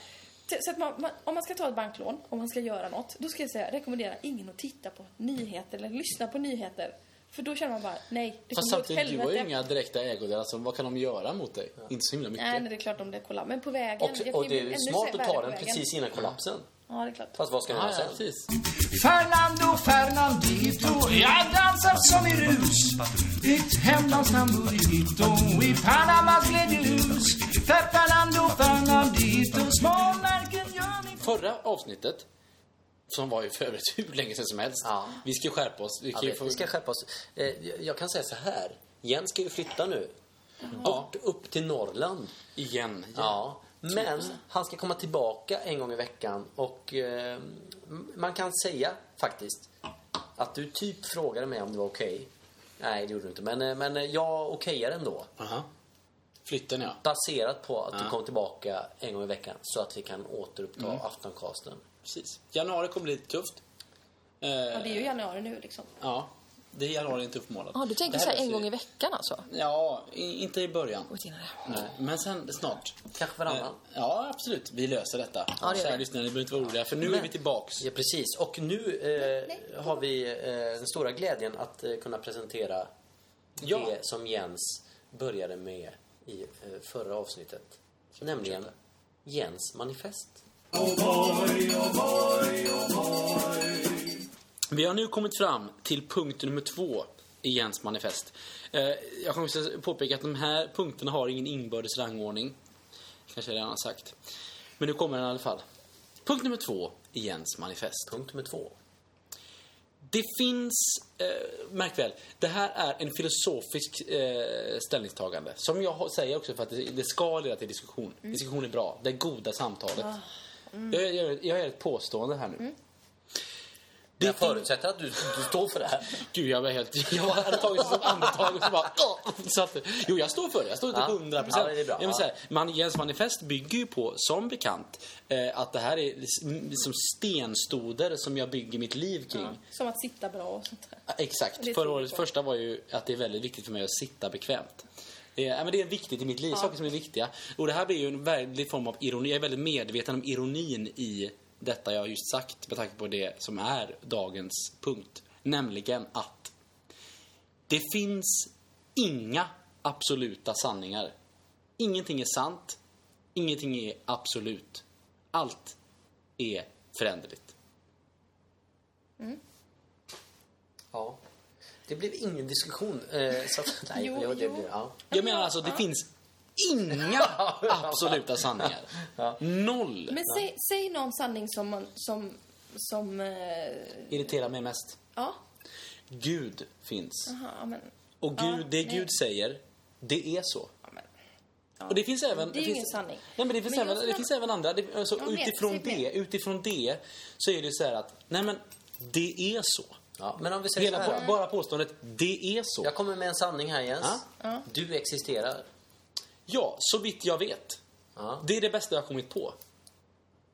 Speaker 2: t- Så att man, man, om man ska ta ett banklån, om man ska göra något, då ska jag säga rekommendera ingen att titta på nyheter eller lyssna på nyheter. För då känner man bara, nej, det
Speaker 1: Fast
Speaker 2: kommer gå åt
Speaker 1: samtidigt, du har ju
Speaker 2: helvete.
Speaker 1: inga direkta ägodelar. Alltså, vad kan de göra mot dig? Inte så himla mycket.
Speaker 2: Nej, nej, det är klart om det kollar. Men på vägen.
Speaker 4: Och,
Speaker 2: jag kan
Speaker 4: och
Speaker 2: ju
Speaker 4: det
Speaker 2: bli
Speaker 4: är
Speaker 2: ännu
Speaker 4: smart att
Speaker 2: värre
Speaker 4: ta
Speaker 2: på
Speaker 4: den
Speaker 2: vägen. Mm.
Speaker 4: precis innan kollapsen.
Speaker 2: Ja, det är klart.
Speaker 4: Fast vad ska man
Speaker 1: Ja,
Speaker 4: göra
Speaker 1: ja,
Speaker 4: sen?
Speaker 1: precis.
Speaker 5: Fernando, Fernandito, jag dansar som i rus. Ditt hemlands Nambudivito, i Panamas glädjehus. För Fernando, Fernandito, småmärken gör min
Speaker 1: Förra avsnittet, som var ju för övrigt [laughs] hur länge sedan som helst.
Speaker 4: Ja.
Speaker 1: Vi ska ju skärpa oss. Vi
Speaker 4: Ja,
Speaker 1: kan ju
Speaker 4: vi,
Speaker 1: få...
Speaker 4: vi ska skärpa oss. Eh, jag- jag kan säga så här. Jens ska ju flytta nu.
Speaker 1: Ja.
Speaker 4: Bort upp till Norrland.
Speaker 1: Igen.
Speaker 4: Ja. Men han ska komma tillbaka en gång i veckan och eh, m- man kan säga faktiskt att du typ frågade mig om det var okej. Nej, det gjorde du inte. Men, eh, men eh, jag okejar ändå.
Speaker 1: Aha. Flytten, ja.
Speaker 4: Baserat på att du kom tillbaka en gång i veckan så att vi kan återuppta aftoncasten.
Speaker 1: Precis. Januari kommer bli lite tufft. Eh,
Speaker 2: Ja, det är ju januari nu liksom.
Speaker 1: ja. Det är januari inte uppmålad.
Speaker 2: Ja, du tänker
Speaker 1: Det här
Speaker 2: så här en
Speaker 1: löser
Speaker 2: gång
Speaker 1: vi.
Speaker 2: i veckan alltså?
Speaker 1: Ja, i- inte i början.
Speaker 2: Och senare.
Speaker 1: Nej, men sen snart.
Speaker 4: Kanske varannan.
Speaker 1: Eh, Ja, absolut. Vi löser detta.
Speaker 2: Ja, det gör
Speaker 1: Kära
Speaker 2: vi.
Speaker 1: lyssnare, ni behöver inte vara oroliga för nu är vi tillbaks.
Speaker 4: Ja, precis. Och nu eh, har vi eh, den stora glädjen att eh, kunna presentera
Speaker 1: Ja.
Speaker 4: det som Jens började med i eh, förra avsnittet. Nämligen Jens manifest.
Speaker 1: Vi har nu kommit fram till punkt nummer två i Jens manifest. Eh, jag kan också påpeka att de här punkterna har ingen inbördes rangordning. Kanske jag redan har sagt. Men nu kommer den i alla fall. Punkt nummer två i Jens manifest.
Speaker 4: Punkt nummer två.
Speaker 1: Det finns, eh, märk väl, det här är en filosofisk eh, ställningstagande. Som jag har- säger också för att det, det ska leda till diskussion. Diskussion är bra, det goda samtalet. Jag, jag, jag gör ett påstående här nu. Det
Speaker 4: Jag
Speaker 1: fin-
Speaker 4: förutsätter att du, du står för det här.
Speaker 1: [laughs] Gud, jag var helt... Jag hade tagit ett sånt andetag och så bara... Så att, jo, jag står för det. Jag står till
Speaker 4: Ja.
Speaker 1: 100
Speaker 4: Ja, det är bra.
Speaker 1: Jag vill säga, man, Jens manifest bygger ju på, som bekant, eh, att det här är liksom stenstoder som jag bygger mitt liv kring.
Speaker 6: Som att sitta bra och sånt där.
Speaker 1: Exakt. Förra
Speaker 6: Det tror
Speaker 1: årets
Speaker 6: jag på.
Speaker 1: första var ju att det är väldigt viktigt för mig att sitta bekvämt. Det är, ja, men det är viktigt i mitt liv, saker som är viktiga. Och det här blir ju en väldig form av ironi. Jag är väldigt medveten om ironin i detta jag just sagt med tanke på det som är dagens punkt. Nämligen att det finns inga absoluta sanningar. Ingenting är sant. Ingenting är absolut. Allt är föränderligt.
Speaker 4: Ja. Det blev ingen diskussion. Eh, så
Speaker 6: [laughs]
Speaker 4: att, nej,
Speaker 6: Jo,
Speaker 4: jo, det
Speaker 6: jo.
Speaker 4: Blev, ja.
Speaker 1: Jag menar alltså, det finns [laughs] inga absoluta sanningar. Noll.
Speaker 6: Men säg, säg någon sanning som man, som, som, eh,
Speaker 1: Irriterar mig mest.
Speaker 6: ja.
Speaker 1: Gud finns.
Speaker 6: Aha, ja, men,
Speaker 1: Och Gud,
Speaker 6: Ja,
Speaker 1: det
Speaker 6: nej.
Speaker 1: Gud säger, det är så.
Speaker 6: ja, men, ja.
Speaker 1: Och det finns även...
Speaker 6: Det är ju
Speaker 1: finns,
Speaker 6: ingen sanning.
Speaker 1: Nej, men det finns,
Speaker 6: Men
Speaker 1: även,
Speaker 6: jag
Speaker 1: det
Speaker 6: tror-
Speaker 1: finns även andra. Det, alltså,
Speaker 6: Jag vet,
Speaker 1: utifrån,
Speaker 6: typ
Speaker 1: det,
Speaker 6: med.
Speaker 1: utifrån det så är det ju så här att, nej men, det är så.
Speaker 4: Ja, men om vi säger så
Speaker 1: Hela,
Speaker 4: här.
Speaker 1: på, bara påståendet, det är så.
Speaker 4: Jag kommer med en sanning här, Jens. Du existerar.
Speaker 1: Ja, så vitt jag vet.
Speaker 4: Ja.
Speaker 1: Det är det bästa jag har kommit på.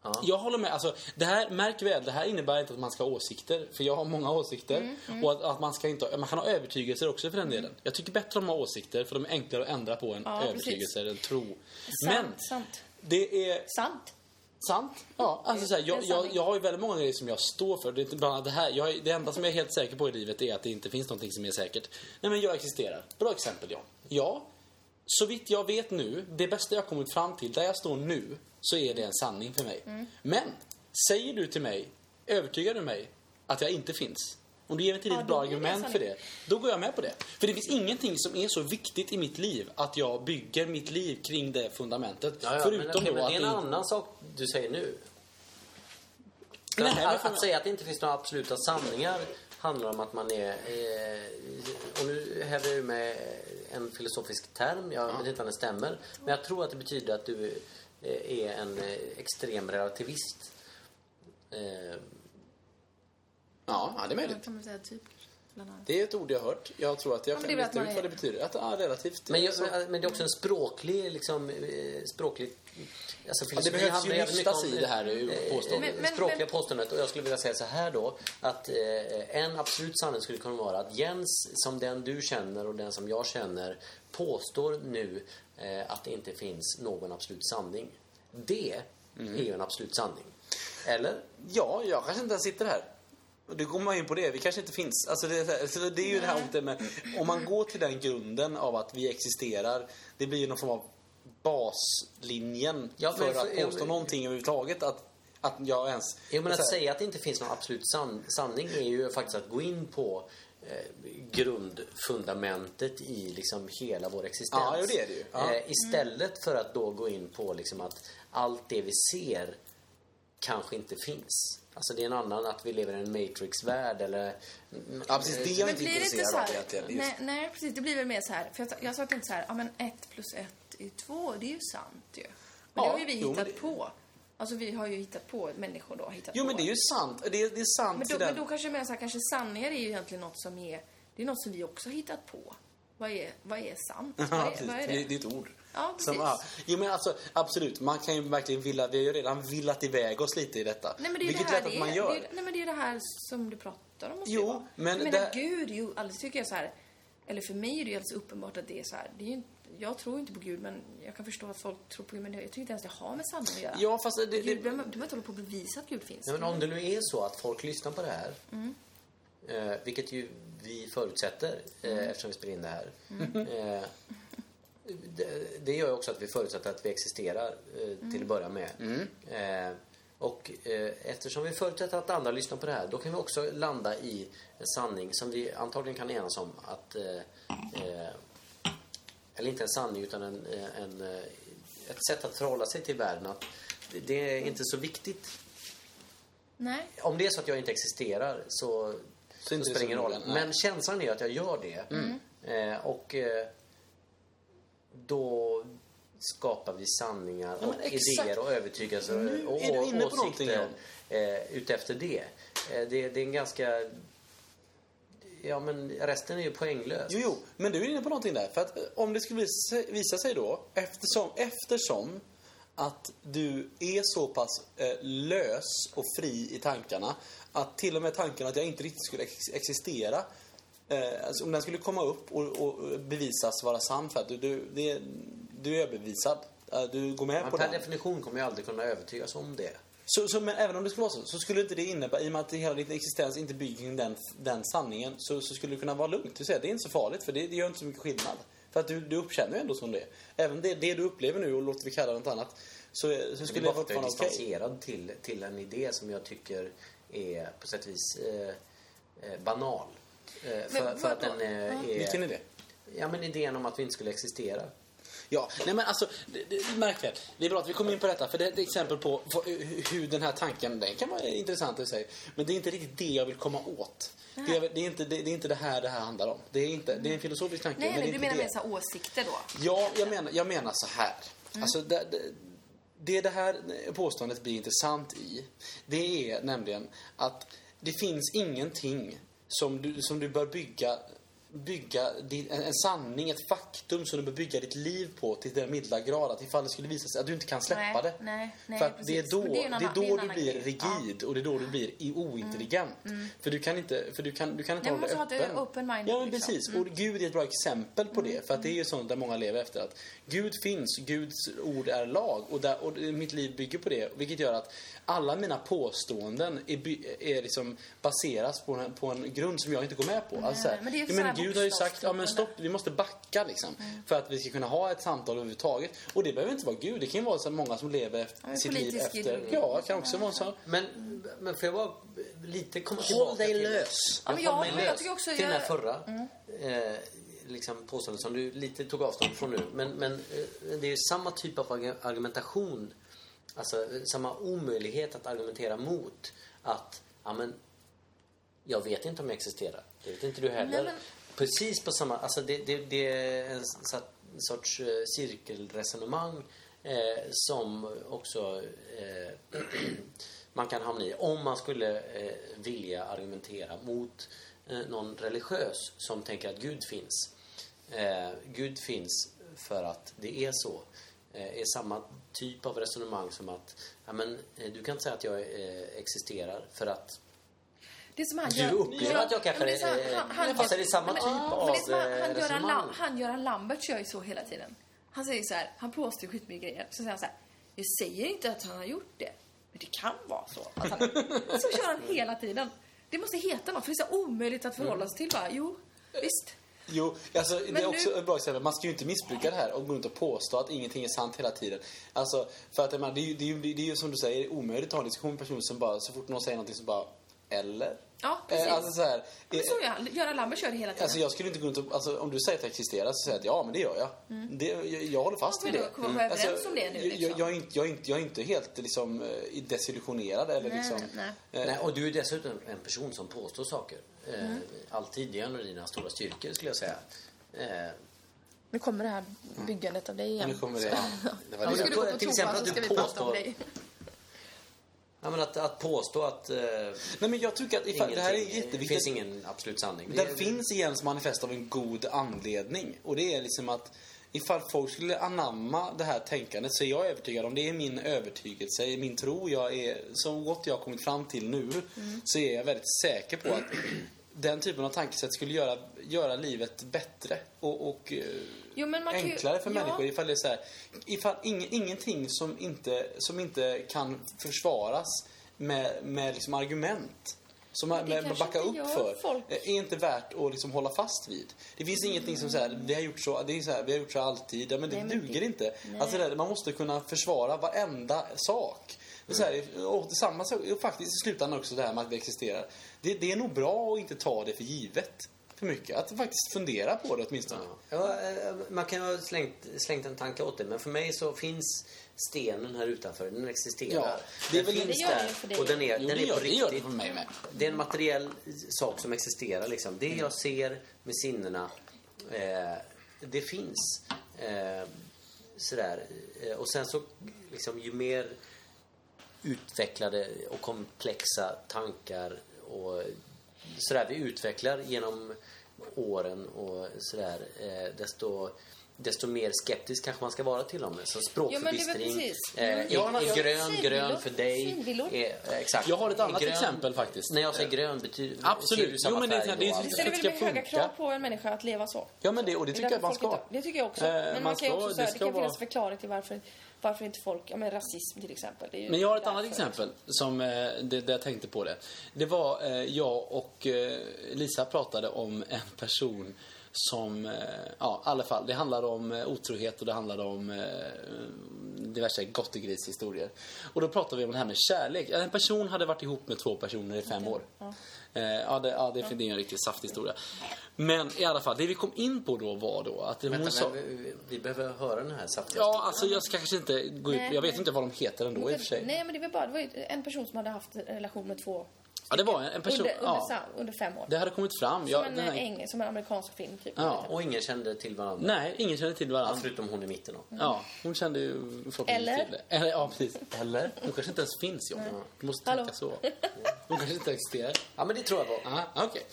Speaker 4: Ja.
Speaker 1: Jag håller med. Alltså, det här, märk väl, det här innebär inte att man ska ha åsikter. För jag har många åsikter.
Speaker 4: Mm,
Speaker 1: Och att, att man, ska inte, ha- man kan ha övertygelser också för den delen. Jag tycker bättre om att ha åsikter för de är enklare att ändra på än
Speaker 6: Ja,
Speaker 1: övertygelser, än tro. Men
Speaker 6: Sant, sant.
Speaker 1: det är
Speaker 6: Sant.
Speaker 1: sant. Ja, alltså, så här, jag,
Speaker 6: en
Speaker 1: jag,
Speaker 6: sanning.
Speaker 1: jag har ju väldigt många grejer som jag står för. Det, är inte bland annat det, här, jag, är- det enda som jag är helt säker på i livet är att det inte finns någonting som är säkert. Nej, men jag existerar. Bra exempel, John. Ja, så vitt jag vet nu, det bästa jag kommit fram till, där jag står nu, så är det en sanning för mig.
Speaker 6: Mm.
Speaker 1: Men, säger du till mig, övertygar du mig att jag inte finns? Om du ger mig till ett
Speaker 6: då
Speaker 1: bra
Speaker 6: blir det en
Speaker 1: argument för
Speaker 6: sanning.
Speaker 1: det, då går jag med på det. För det finns ingenting som är så viktigt i mitt liv att jag bygger mitt liv kring det fundamentet.
Speaker 4: Ja, ja, men,
Speaker 1: förutom
Speaker 4: okej,
Speaker 1: då
Speaker 4: men
Speaker 1: att
Speaker 4: det är en
Speaker 1: det-
Speaker 4: annan sak du säger nu. För
Speaker 1: Nej,
Speaker 4: att,
Speaker 1: men
Speaker 4: att,
Speaker 1: för-
Speaker 4: att säga att det inte finns några absoluta sanningar handlar om att man är... Eh, och nu häver jag ur mig en filosofisk term, jag vet inte om den stämmer. Men jag tror att det betyder att du eh, är en eh, extrem relativist. Eh,
Speaker 1: Ja, ja, det är möjligt.
Speaker 6: Mm.
Speaker 2: Kan man säga typ? Bland annat.
Speaker 1: Det är ett ord jag har hört. Jag tror att jag
Speaker 2: men
Speaker 1: kan
Speaker 2: det är väl
Speaker 1: lista ut
Speaker 2: att man
Speaker 1: vad det
Speaker 2: är-
Speaker 1: betyder. Att, ja, relativt.
Speaker 4: men,
Speaker 1: så,
Speaker 4: jag, men det är också en språklig... Liksom, eh, språklig alltså,
Speaker 1: ja, det
Speaker 4: filosofi
Speaker 1: behövs ju
Speaker 4: handlar jävligt mycket
Speaker 1: listas
Speaker 4: om-
Speaker 1: i det här eh, påståendet.
Speaker 2: Men-
Speaker 4: det språkliga påståendet. Och jag skulle vilja säga så här då. Att eh, en absolut sanning skulle kunna vara att Jens, som den du känner och den som jag känner, påstår nu eh, att det inte finns någon absolut sanning. Det är ju en absolut sanning. Eller?
Speaker 1: Ja, jag kanske inte ens sitter här. Och då går man in på det. Vi kanske inte finns. Alltså det, är så här- så det är ju det här om det med... Om man går till den grunden av att vi existerar. Det blir ju någon form av baslinjen
Speaker 4: Ja,
Speaker 1: för
Speaker 4: men-
Speaker 1: att
Speaker 4: ja, men-
Speaker 1: påstå någonting överhuvudtaget. Att, att jag ens...
Speaker 4: Jo, men
Speaker 1: så
Speaker 4: att
Speaker 1: här-
Speaker 4: säga att det inte finns någon absolut san sanning är ju faktiskt att gå in på eh, grundfundamentet i liksom hela vår existens.
Speaker 1: Ja, jo, det är det ju. Ja. Mm.
Speaker 4: Eh, istället för att då gå in på liksom att allt det vi ser kanske inte finns. Alltså det är en annan att vi lever i en matrix-värld eller...
Speaker 1: Ja, precis. Det är jag
Speaker 6: Men
Speaker 1: inte
Speaker 6: blir det inte
Speaker 1: intresserad
Speaker 6: så
Speaker 1: av
Speaker 6: här,
Speaker 1: egentligen. Just-
Speaker 6: nej, nej, precis. Det blir väl mer så här. För jag, sa- jag sa inte så här, ja men ett plus ett är ju två. Det är ju sant ju. Men
Speaker 1: Ja,
Speaker 6: det har ju vi
Speaker 1: jo, men
Speaker 6: hittat
Speaker 1: det-
Speaker 6: på. Alltså vi har ju hittat på, människor då har hittat
Speaker 1: Jo,
Speaker 6: på.
Speaker 1: men det är ju sant. Det är, det är sant
Speaker 6: Men
Speaker 1: till
Speaker 6: då, men
Speaker 1: den...
Speaker 6: då kanske jag menar så här, kanske sanningar är ju egentligen något som är, det är något som vi också har hittat på. Vad är, vad är sant? vad,
Speaker 1: [laughs] Ja,
Speaker 6: är,
Speaker 1: precis.
Speaker 6: vad är
Speaker 1: det?
Speaker 6: det?
Speaker 1: det är ett ord.
Speaker 6: Ja,
Speaker 1: Som,
Speaker 6: precis.
Speaker 1: ja. Jo, men alltså, absolut, man kan ju verkligen villa, vi har ju redan villat iväg oss lite i detta.
Speaker 6: Nej, men det är ju
Speaker 1: vilket
Speaker 6: det
Speaker 1: lätt
Speaker 6: här det
Speaker 1: att
Speaker 6: är.
Speaker 1: man gör.
Speaker 6: Det är, ju- nej, men det är ju det här som du pratar om. måste
Speaker 1: Jo,
Speaker 6: det vara.
Speaker 1: men
Speaker 6: jag menar,
Speaker 1: det-
Speaker 6: Gud, ju, alltså tycker jag så här... Eller för mig är det ju alldeles uppenbart att det är så här... Det är ju, inte- jag tror inte på Gud, men jag kan förstå att folk tror på Gud. Men jag tycker inte ens det har med sanning att göra.
Speaker 1: Ja, fast det, det,
Speaker 6: Gud, du behöver du behöver inte hålla på att bevisa att Gud finns.
Speaker 4: Nej, men om det nu är så att folk lyssnar på det här, eh, vilket ju vi förutsätter eh, eftersom vi spelar in det här. Eh, det, det gör ju också att vi förutsätter att vi existerar eh, till att börja med. Eh, och eh, eftersom vi förutsätter att andra lyssnar på det här, då kan vi också landa i en sanning som vi antagligen kan enas om att eh, eh, eller inte en sanning utan en, eh, en, eh, ett sätt att förhålla sig till världen. Att det- det är inte så viktigt
Speaker 6: Nej.
Speaker 4: om det är så att jag inte existerar så, så,
Speaker 1: inte
Speaker 4: spelar det ingen
Speaker 1: så
Speaker 4: roll.
Speaker 1: noga, nej.
Speaker 4: Men känslan är att jag gör det.
Speaker 1: Mm.
Speaker 4: Eh, och eh, då skapar vi sanningar
Speaker 1: Ja,
Speaker 4: och
Speaker 1: men exakt.
Speaker 4: idéer och övertygelser
Speaker 1: Nu
Speaker 4: och, och
Speaker 1: är du inne på någonting,
Speaker 4: åsikter eh, utefter det. Eh, det. Det är en ganska... Ja, men resten är ju poänglöst.
Speaker 1: Jo, jo, men du är inne på någonting där. För att eh, om det skulle visa sig, visa sig då, eftersom, eftersom att du är så pass eh, lös och fri i tankarna att till och med tanken att jag inte riktigt skulle ex- existera eh, alltså om den skulle komma upp och, och bevisas vara sann för att du, du, det, du är överbevisad. Eh, Du går med
Speaker 4: Men
Speaker 1: på
Speaker 4: per
Speaker 1: den.
Speaker 4: definition kommer jag aldrig kunna övertygas om det.
Speaker 1: Så, så, men även om det skulle vara så, så skulle inte det innebära, i och med att hela din existens inte bygger kring den, den sanningen, så, så skulle det kunna vara lugnt. Du säger, det är inte så farligt, för det, det gör inte så mycket skillnad. För att du, du uppkänner ju ändå som det är. Även det, det du upplever nu, och låter vi kalla det något annat, så, så
Speaker 4: Det är
Speaker 1: skulle det
Speaker 4: bara för att jag
Speaker 1: fortfarande
Speaker 4: är
Speaker 1: vara okej.
Speaker 4: distanserad till, till en idé som jag tycker är på sätt och vis eh, eh, banal. Eh, för,
Speaker 6: Men
Speaker 4: för att
Speaker 6: vadå?
Speaker 4: den eh, är...
Speaker 1: Vilken är det?
Speaker 4: Ja, men idén om att vi inte skulle existera.
Speaker 1: Ja, nej men alltså, det, det, märk väl. Det är bra att vi kommer in på detta, för det är ett exempel på vad- hur den här tanken, den kan vara intressant i sig, men det är inte riktigt det jag vill komma åt. Det är, det, är inte, det, det är inte det här det här handlar om. Det är, inte, det är en filosofisk tanke,
Speaker 6: Nej,
Speaker 1: men det
Speaker 6: nej,
Speaker 1: är
Speaker 6: du
Speaker 1: inte
Speaker 6: menar
Speaker 1: det.
Speaker 6: mer så här åsikter då?
Speaker 1: Ja, jag menar, jag menar så här. Alltså, det, det, det det här påståendet blir intressant i, det är nämligen att det finns ingenting som du, som du bör bygga, bygga din, en, en sanning, ett faktum som du bör bygga ditt liv på till den milda grad att ifall det skulle visa sig att du inte kan släppa
Speaker 6: Nej,
Speaker 1: det.
Speaker 6: nej, nej,
Speaker 1: För att det är
Speaker 6: precis.
Speaker 1: då,
Speaker 6: Men det är ju en
Speaker 1: det är
Speaker 6: annan- det
Speaker 1: då
Speaker 6: är en
Speaker 1: du
Speaker 6: annan
Speaker 1: blir
Speaker 6: grej.
Speaker 1: rigid och det är då du blir i- ointelligent. För du kan inte, för du kan, du kan inte
Speaker 6: Mm, Nej,
Speaker 1: hålla
Speaker 6: man
Speaker 1: dig
Speaker 6: måste
Speaker 1: öppen.
Speaker 6: ha ett open-minded,
Speaker 1: Ja, men
Speaker 6: liksom. Mm,
Speaker 1: precis. Och Gud är ett bra exempel på det. För att det är ju sånt där många lever efter. Att Gud finns, Guds ord är lag. Och, där, och mitt liv bygger på det. Vilket gör att alla mina påståenden är, by- är liksom baseras på en, på en grund som jag inte går med på. alltså, så här,
Speaker 6: men det är
Speaker 1: jag
Speaker 6: så
Speaker 1: menar,
Speaker 6: här Mm.
Speaker 1: Gud har ju sagt, ja men
Speaker 6: bokstavstypen
Speaker 1: stopp, vi måste backa liksom. För att vi ska kunna ha ett samtal överhuvudtaget. Och det behöver inte vara Gud. Det kan ju vara så här många som lever efter,
Speaker 6: men
Speaker 1: sitt liv
Speaker 6: politisk
Speaker 1: efter.
Speaker 6: ideologi.
Speaker 1: Ja, det kan också vara så.
Speaker 4: Men, men får jag bara lite komma tillbaka till...
Speaker 6: Ja, men
Speaker 4: jag,
Speaker 6: jag-
Speaker 4: håller mig
Speaker 6: jag
Speaker 4: lös
Speaker 6: tycker också
Speaker 4: till den här
Speaker 6: jag- Mm.
Speaker 4: förra eh, liksom påståendet som du lite tog avstånd från nu. Men, men eh, det är ju samma typ av arg- argumentation. Alltså eh, samma omöjlighet att argumentera mot att ja, men, jag vet inte om jag existerar. Det vet inte du heller.
Speaker 6: Nej, men-
Speaker 4: Precis på samma... Alltså det, det, det är en s- sa- sorts eh, cirkelresonemang eh, som också eh, [clears throat] man kan hamna i om man skulle eh, vilja argumentera mot eh, någon religiös som tänker att Gud finns. Eh, Gud finns för att det är så. Eh, är samma typ av resonemang som att ja, men, eh, du kan inte säga att jag eh, existerar för att
Speaker 6: Det är som han
Speaker 4: du upplever att jag kanske
Speaker 6: Men det är så
Speaker 4: är-
Speaker 6: han- han-
Speaker 4: fast är det samma
Speaker 6: Men-
Speaker 4: typ
Speaker 6: men
Speaker 4: av,
Speaker 6: det är som han-
Speaker 4: eh,
Speaker 6: han Göran
Speaker 4: resonemang?
Speaker 6: Lam- Han Göran Lambert gör ju så hela tiden. Han säger så här, han påstår ju skitmycket grejer. Så säger han så här, jag säger inte att han har gjort det. Men det kan vara så. Att han, så kör han hela tiden. Det måste heta något, för det är så omöjligt att förhålla sig till bara. Jo, visst.
Speaker 1: Jo, alltså, det
Speaker 6: nu-
Speaker 1: är också ett bra exempel. Man ska ju inte missbruka det här och gå runt och påstå att ingenting är sant hela tiden. Alltså, för att jag menar, det, är ju, det, är ju, det är ju som du säger omöjligt att ha en diskussion med personer som bara, så fort någon säger någonting så bara, eller?
Speaker 6: Ja, precis.
Speaker 1: Eh, Alltså så här,
Speaker 6: Men
Speaker 1: eh,
Speaker 6: så gör han. Göran Lambert kör det hela tiden.
Speaker 1: Alltså jag skulle inte gå runt och, alltså, om du säger att jag existerar så säger jag att ja, men det gör jag. Det, jag, jag håller fast
Speaker 6: Ja,
Speaker 1: vid
Speaker 6: Mm. men
Speaker 1: det. Mm. Alltså,
Speaker 6: då kommer vi vara överens om det nu,
Speaker 1: jag-
Speaker 6: liksom.
Speaker 1: jag, jag, är inte, jag, är inte, jag är inte helt liksom, eh, desillusionerad eller
Speaker 6: Nej,
Speaker 1: liksom...
Speaker 6: nej.
Speaker 1: eh,
Speaker 4: Nej, och du är dessutom en person som påstår saker. Eh, Alltid. Det är en av dina stora styrkor skulle jag säga. Eh,
Speaker 2: Nu kommer det här byggandet av dig igen.
Speaker 1: Nu kommer det. det var
Speaker 2: Ja,
Speaker 1: det.
Speaker 2: ska du gå på
Speaker 4: Till
Speaker 2: toa
Speaker 4: exempel
Speaker 2: så
Speaker 4: att
Speaker 2: ska
Speaker 4: du
Speaker 2: vi prata om
Speaker 4: påstår-
Speaker 2: dig.
Speaker 4: Ja, men att, att påstå att... eh,
Speaker 1: Nej, men jag tycker att ifall, det här är
Speaker 4: ingenting-
Speaker 1: jätteviktigt.
Speaker 4: Det finns ingen absolut sanning.
Speaker 1: Den
Speaker 4: Det är-
Speaker 1: finns i Jens manifest av en god anledning. Och det är liksom att ifall folk skulle anamma det här tänkandet så är jag övertygad om det är min övertygelse, min tro. Jag är, så gott jag har kommit fram till nu
Speaker 4: Mm.
Speaker 1: så är jag väldigt säker på att [clears throat] den typen av tankesätt skulle göra, göra livet bättre och, och eh,
Speaker 2: Jo, men man kan ju-
Speaker 1: enklare för
Speaker 2: ja.
Speaker 1: människor ifall det är så här, ifall ing, ingenting som inte, som inte kan försvaras med, med liksom argument som man
Speaker 2: det
Speaker 1: med, med
Speaker 2: kanske
Speaker 1: backa
Speaker 2: inte
Speaker 1: upp
Speaker 2: gör
Speaker 1: för
Speaker 2: folk. Mm.
Speaker 1: eh, är inte värt att liksom hålla fast vid. Det finns ingenting som säger vi har gjort så, det är så här, vi har gjort så alltid. Ja, men det
Speaker 2: Nej, men
Speaker 1: duger
Speaker 2: det-
Speaker 1: inte. Alltså det där, man måste kunna försvara varenda sak. Det är så här, och detsamma så, och faktiskt i slutändan också det här med att vi existerar. Det, det är nog bra att inte ta det för givet för mycket. Att faktiskt fundera på det åtminstone.
Speaker 4: Ja, eh, man kan ha slängt, slängt en tanke åt det, men för mig så finns stenen här utanför. Den existerar.
Speaker 1: Ja, det är
Speaker 4: den
Speaker 1: väl-
Speaker 4: finns
Speaker 2: Det gör den ju för dig.
Speaker 4: där och den är,
Speaker 1: Jo,
Speaker 4: den
Speaker 1: det
Speaker 4: är på
Speaker 1: gör det, gör det
Speaker 4: riktigt.
Speaker 1: för mig med.
Speaker 4: Det är en materiell sak som existerar. Liksom. Det jag ser med sinnena, eh, det finns. Eh, sådär. Eh, Och sen så, liksom, ju mer utvecklade och komplexa tankar och sådär vi utvecklar genom åren och sådär, eh, desto desto mer skeptisk kanske man ska vara till dem.
Speaker 2: men
Speaker 4: Så
Speaker 2: det är väl
Speaker 4: språkförbistring,
Speaker 2: precis.
Speaker 4: eh, är,
Speaker 1: Ja, men
Speaker 4: är
Speaker 1: jag-
Speaker 4: grön, grön
Speaker 2: Synvillor.
Speaker 4: för dig.
Speaker 2: Synvillor.
Speaker 4: Är, eh, exakt.
Speaker 1: Jag har ett
Speaker 4: Är
Speaker 1: annat exempel faktiskt.
Speaker 4: När jag säger grön betyder
Speaker 1: Absolut.
Speaker 4: ser du samma
Speaker 1: Jo, men det är-
Speaker 4: färg
Speaker 1: det är-
Speaker 4: då,
Speaker 1: det
Speaker 2: Det
Speaker 4: alltså?
Speaker 2: ställer
Speaker 1: Det ska
Speaker 2: väldigt höga
Speaker 1: funka.
Speaker 2: krav på en människa att leva så.
Speaker 1: Ja, men det, och det
Speaker 2: är
Speaker 1: tycker jag
Speaker 2: därför
Speaker 1: man
Speaker 2: folk
Speaker 1: ska.
Speaker 2: inte- Det tycker jag också.
Speaker 1: Eh,
Speaker 2: men man,
Speaker 1: man
Speaker 2: kan ju
Speaker 1: ska-
Speaker 2: också säga,
Speaker 1: det
Speaker 2: det,
Speaker 1: ska
Speaker 2: kan
Speaker 1: vara-
Speaker 2: finnas förklaring till varför, varför inte folk, ja men rasism till exempel. Det är ju
Speaker 1: Men jag har ett
Speaker 2: därför.
Speaker 1: annat exempel som eh, det, där jag tänkte på det. Det var eh, jag och eh, Lisa pratade om en person som, eh, ja i alla fall, det handlade om eh, otrohet och det handlade om eh, diverse gottegrishistorier. Och då pratade vi om det här med kärlek. En person hade varit ihop med två personer i fem år. Eh, ja, det, ja, det, det är en riktigt saftig historia. Men i alla fall, det vi kom in på då var då att hon
Speaker 4: Vänta,
Speaker 1: sa...
Speaker 4: men vi- vi- Vi behöver höra den här saftiga
Speaker 1: Ja, alltså jag ska kanske inte gå ut...
Speaker 2: Nej,
Speaker 1: Jag vet
Speaker 2: nej.
Speaker 1: inte vad de heter ändå i och för sig.
Speaker 2: Nej men det var bara, det var ju en person som hade haft en relation med två
Speaker 1: Ja, det var en, en person...
Speaker 2: under, under,
Speaker 1: ja.
Speaker 2: sam, under fem år.
Speaker 1: Det hade kommit fram. Jag,
Speaker 2: som, en, eh,
Speaker 1: den här,
Speaker 2: eng, som en amerikansk film typ.
Speaker 1: Ja.
Speaker 4: Och ingen kände till varandra.
Speaker 1: nej, ingen kände till varandra.
Speaker 4: Förutom hon i mitten då.
Speaker 1: Ja, hon kände ju förhoppningsvis
Speaker 2: Alltså. Eller?
Speaker 1: till det. Eller? Ja, precis. Eller? Hon kanske inte ens finns, John. Du måste tänka
Speaker 2: Hallå.
Speaker 1: så. Hon kanske inte existerar.
Speaker 4: Ja, men det tror jag på.
Speaker 1: Ah, okej.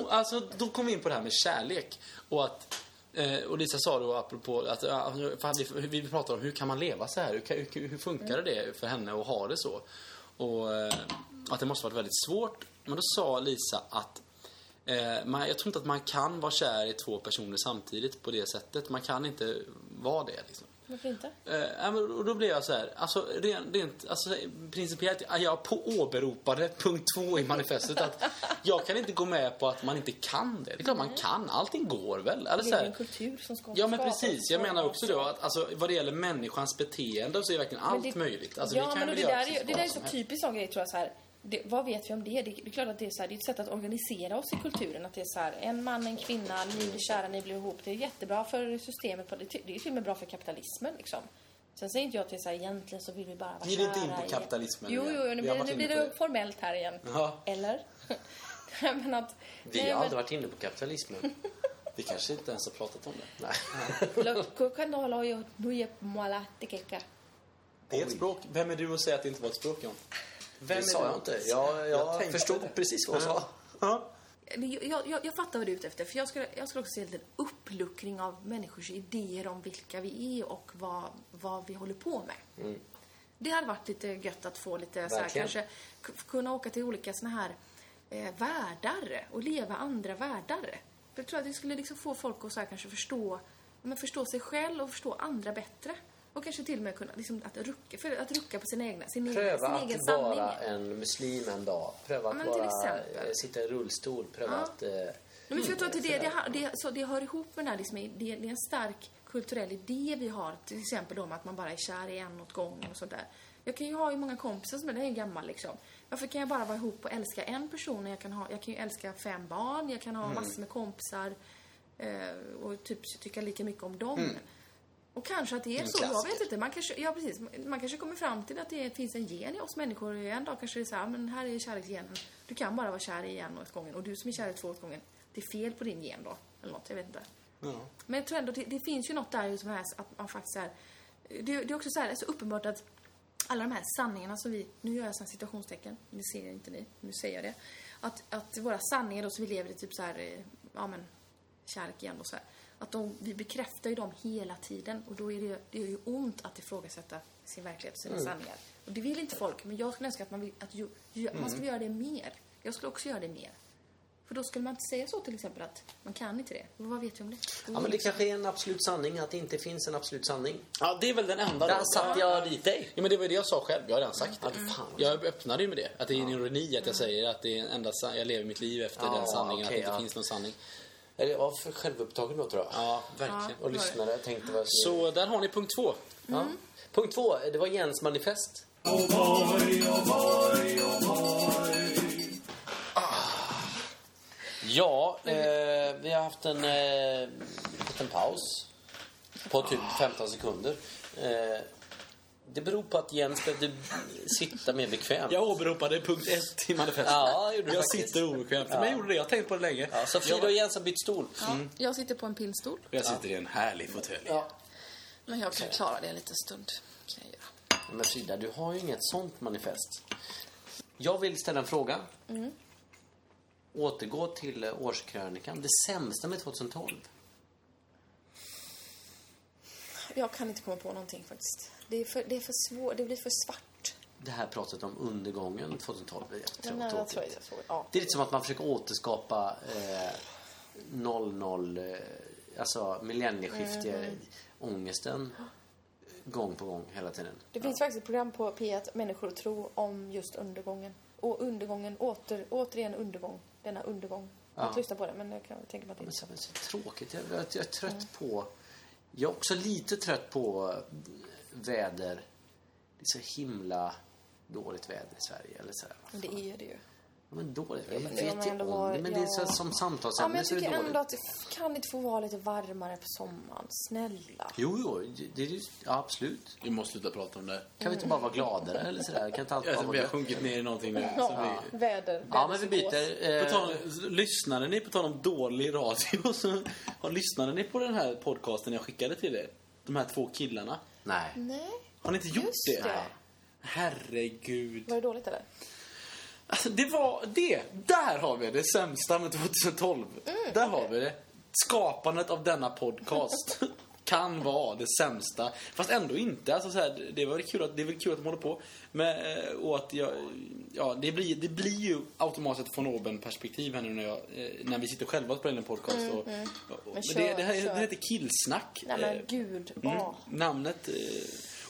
Speaker 1: Och Alltså, då kom vi in på det här med kärlek. Och att eh, och Lisa sa då apropå att ja, för vi, vi pratade om hur kan man leva så här? Hur, kan- hur, hur funkar det för henne att ha det så? Och eh, att det måste varit väldigt svårt. Men då sa Lisa att eh, man, jag tror inte att man kan vara kär i två personer samtidigt på det sättet. Man kan inte vara det liksom.
Speaker 2: Varför inte?
Speaker 1: Eh, ja, men och då blev jag så här, alltså rent, rent alltså, principiellt, ja, jag på åberopade punkt två i manifestet att jag kan inte gå med på att man inte kan det. Det är klart man kan, allting går väl. Eller
Speaker 2: Det
Speaker 1: så
Speaker 2: är ju en
Speaker 1: här,
Speaker 2: kultur som ska
Speaker 1: ja men
Speaker 2: skapas.
Speaker 1: precis, jag menar också då att alltså, vad det gäller människans beteende så är verkligen
Speaker 2: Men
Speaker 1: allt
Speaker 2: det-
Speaker 1: möjligt. Alltså, vi
Speaker 2: ja,
Speaker 1: kan väl
Speaker 2: men och det,
Speaker 1: göra
Speaker 2: där är,
Speaker 1: precis
Speaker 2: ju- det
Speaker 1: vad
Speaker 2: där är
Speaker 1: som
Speaker 2: så
Speaker 1: helst.
Speaker 2: typiskt sån grej tror jag så här. Det, vad vet vi om det? det? Det är klart att det är, så här, det är ett sätt att organisera oss i kulturen. Att det är så här, en man, en kvinna, ni kära, ni blir ihop. Det är jättebra för systemet. På, det ty- det är till och med bra för kapitalismen liksom. Sen säger inte jag till så här, egentligen så vill vi bara vara
Speaker 1: Glider inte in
Speaker 2: kära
Speaker 1: på
Speaker 2: i-
Speaker 1: kapitalismen
Speaker 2: Jo,
Speaker 1: nu igen.
Speaker 2: jo, nu
Speaker 1: Vi har
Speaker 2: blir,
Speaker 1: varit
Speaker 2: nu
Speaker 1: inne
Speaker 2: blir
Speaker 1: på
Speaker 2: det
Speaker 1: det.
Speaker 2: formellt här igen.
Speaker 1: Ja.
Speaker 2: Eller? Nej, men att...
Speaker 4: Vi
Speaker 2: nej,
Speaker 4: har
Speaker 2: men-
Speaker 4: aldrig varit inne
Speaker 1: [laughs]
Speaker 4: på kapitalismen.
Speaker 1: Vi kanske inte ens har pratat om det. Det är ett språk. Vem är du att säga att det inte var ett språk, John? Vem
Speaker 4: det sa jag inte. Jag, jag,
Speaker 1: tänkte
Speaker 4: förstod
Speaker 1: det.
Speaker 4: precis vad hon sa.
Speaker 1: Ja.
Speaker 2: Men Jag, jag- jag, jag fattar vad du är ute efter. För jag skulle, jag skulle också se en liten uppluckring av människors idéer om vilka vi är och vad, vad vi håller på med. Det hade varit lite gött att få lite så här,
Speaker 4: Mm. Verkligen.
Speaker 2: kanske k- kunna åka till olika såna här eh, världar och leva andra världar. För jag tror att det skulle liksom få folk att så här, kanske förstå, men förstå sig själv och förstå andra bättre. Och kanske till och med kunna liksom, att, rucka, för att rucka på sin, egna, sin, egen-
Speaker 4: Pröva
Speaker 2: sin
Speaker 4: att
Speaker 2: egen sanning.
Speaker 4: vara en muslim en dag. Pröva att
Speaker 2: men till
Speaker 4: vara,
Speaker 2: exempel.
Speaker 4: eh, sitta i rullstol. Pröva att... Eh,
Speaker 2: Nej, men jag tror att det, det, har- det, så det hör ihop med den här, liksom, det, det är en stark kulturell idé vi har, till exempel om att man bara är kär i en åt gången och sådär. Jag kan ju ha ju många kompisar som är, det är ju gammal liksom. Varför kan jag bara vara ihop och älska en person när jag kan ha, jag kan ju älska fem barn, jag kan ha massor med kompisar eh, och typ tycka lika mycket om dem. Och kanske att det är så, jag vet inte. Man kanske, ja, precis, man kanske kommer fram till att det finns en gen i oss människor. En dag kanske det är så här, "Ah, men här är kärleksgenen. Du kan bara vara kär i en åt gången. Och du som är kär i två åt gången, det är fel på din gen då. Eller något, jag vet inte. Men jag tror ändå, det, det finns ju något där som är att man faktiskt är... Det, det är också så här, det är så uppenbart att alla de här sanningarna som vi, nu gör jag sådana situationstecken, nu ser inte ni, nu säger jag det. Att, att våra sanningar då som vi lever i typ så här, eh, ja men, kärlek igen och så här. Att de, vi bekräftar ju dem hela tiden och då är det, ju- det är ju ont att ifrågasätta sin verklighet och sina sanningar. Och det vill inte folk, men jag skulle önska att man, vill, att ju, ju, man skulle göra det mer. Jag skulle också göra det mer. För då skulle man inte säga så till exempel att man kan inte det. Vad vet vi om det?
Speaker 4: Ja, men det kanske är en absolut sanning att det inte finns en absolut sanning.
Speaker 1: Ja, det är väl den enda
Speaker 4: Där satte jag dit dig.
Speaker 1: Ja, men det var ju det jag sa själv. Jag har redan sagt det.
Speaker 4: Ja, fan.
Speaker 1: Jag öppnade ju med det. Att det är en ironi att jag säger att det är en enda san- jag lever mitt liv efter
Speaker 4: Ja,
Speaker 1: den sanningen.
Speaker 4: okej,
Speaker 1: att det inte
Speaker 4: ja.
Speaker 1: finns någon sanning.
Speaker 4: Eller jag var för självupptagen då tror jag.
Speaker 1: Ja, verkligen.
Speaker 2: Ja.
Speaker 4: Och lyssnade och tänkte vad jag skulle
Speaker 1: Så där har ni punkt två.
Speaker 4: Ja. Punkt två, det var Jens manifest. Ja, eh, vi har haft en eh, liten paus på typ 15 sekunder. Eh, det beror på att Jens behövde sitta mer bekvämt.
Speaker 1: Jag åberopade punkt ett i manifestet.
Speaker 4: Ja, det gjorde du
Speaker 1: jag
Speaker 4: faktiskt.
Speaker 1: sitter obekvämt. Men jag gjorde det. Jag har tänkt på det länge.
Speaker 4: Ja, så Frida och Jens har bytt stol.
Speaker 7: Ja,
Speaker 2: Mm.
Speaker 7: Jag sitter på en pinstol,
Speaker 1: Jag sitter i en härlig fåtölj.
Speaker 4: Ja.
Speaker 7: men jag kan klara det en liten stund. Kan jag göra.
Speaker 4: Men Frida, du har ju inget sånt manifest. Jag vill ställa en fråga.
Speaker 2: Mm.
Speaker 4: Återgå till eh, årskrönikan. Det sämsta med 2012.
Speaker 2: Jag kan inte komma på någonting faktiskt. Det, är för, det, är för svår, det blir för svart.
Speaker 4: Det här pratet om undergången 2012 är
Speaker 2: Nej, jag
Speaker 4: jättetråkigt.
Speaker 2: tror jag såg. Ja.
Speaker 4: Det är lite som att man försöker återskapa eh, 00, eh, alltså millennieskifte-ångesten gång på gång hela tiden.
Speaker 2: Det finns faktiskt ett program på P1, Människor och tro, om just undergången. Och undergången, åter, återigen undergång. Denna undergång. Jag har inte lyssnat på det, men jag kan tänka mig att det
Speaker 4: Men
Speaker 2: är
Speaker 4: så, men så tråkigt. Jag, jag, jag är trött på... Jag är också lite trött på eh, väder. Det är så himla dåligt väder i Sverige. Eller så här.
Speaker 2: Men det är det ju.
Speaker 4: Ja, men dåligt väder.
Speaker 2: det
Speaker 4: Jag
Speaker 2: man
Speaker 4: vet ju
Speaker 2: ändå
Speaker 4: om
Speaker 2: har-
Speaker 4: det, men det är så,
Speaker 2: ja.
Speaker 4: som
Speaker 2: Ja,
Speaker 4: samtalsämne
Speaker 2: men jag
Speaker 4: så är
Speaker 2: tycker
Speaker 4: det dåligt.
Speaker 2: ändå att det f- kan det inte få vara lite varmare på sommaren? Snälla.
Speaker 4: Jo, jo, det- det är ju... Ja, absolut.
Speaker 1: Vi måste sluta prata om det.
Speaker 4: Kan vi inte bara vara gladare eller sådär? Kan inte allt bara
Speaker 1: Alltså, vi
Speaker 4: vara
Speaker 1: har
Speaker 4: gött?
Speaker 1: sjunkit ner i någonting nu. Så
Speaker 2: Ja,
Speaker 1: vi...
Speaker 2: väder.
Speaker 4: Ja, men vi byter.
Speaker 1: På
Speaker 4: Eh,
Speaker 1: tal, lyssnade ni, på tal om dålig radio, [laughs] så har, lyssnade ni på den här podcasten jag skickade till er? De här två killarna.
Speaker 4: nej.
Speaker 2: Nej.
Speaker 1: Har ni inte gjort
Speaker 2: Just
Speaker 1: det?
Speaker 2: det.
Speaker 1: Herregud.
Speaker 2: Var det dåligt eller?
Speaker 1: Alltså, det var det. Där har vi det sämsta med 2012.
Speaker 2: Mm.
Speaker 1: Där har vi det. Skapandet av denna
Speaker 2: [laughs]
Speaker 1: podcast kan vara det sämsta. Fast ändå inte. Alltså, så här, det, var kul att, det är väl kul att de håller på. Men, eh, och att jag, ja, det, blir, det blir ju automatiskt ett von oben-perspektiv här nu när, jag, eh, när vi sitter själva och spelar in en podcast. och, och, och,
Speaker 2: Mm, kör,
Speaker 1: det, det, här,
Speaker 2: kör.
Speaker 1: det heter Killsnack.
Speaker 2: Nej
Speaker 1: Eh,
Speaker 2: men gud.
Speaker 1: Mm.
Speaker 2: Ja.
Speaker 1: Namnet. eh,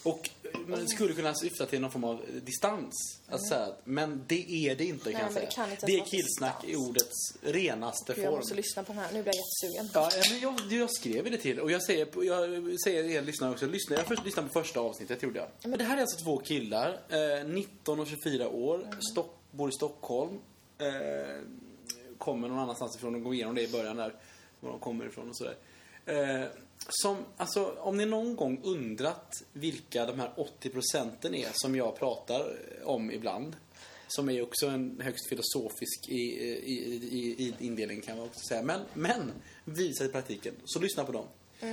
Speaker 1: Och eh, man skulle kunna syfta till någon form av eh, distans. Alltså, så här, men det är det inte kan jag
Speaker 2: Mm. men
Speaker 1: säga.
Speaker 2: det kan inte ens
Speaker 1: det är
Speaker 2: vara
Speaker 1: killsnack i
Speaker 2: distans.
Speaker 1: ordets renaste
Speaker 2: Gud, jag
Speaker 1: form.
Speaker 2: måste lyssna på den här. Nu blir jag jättesugen.
Speaker 1: Ja, eh, men jag, jag skrev ju det till och jag säger, jag säger er lyssnare också, lyssna, jag först lyssnade på första avsnittet gjorde jag. Det här är alltså två killar, eh, 19 och 24 år,
Speaker 2: Mm.
Speaker 1: Stock, bor i Stockholm, eh, kommer någon annanstans ifrån, de går igenom det i början där, var de kommer ifrån och sådär. Eh, som, alltså, om ni någon gång undrat vilka de här 80 procenten är som jag pratar om ibland, som är också en högst filosofisk i, i, i, i indelning kan man också säga. Men, men visar i praktiken. Så lyssna på dem.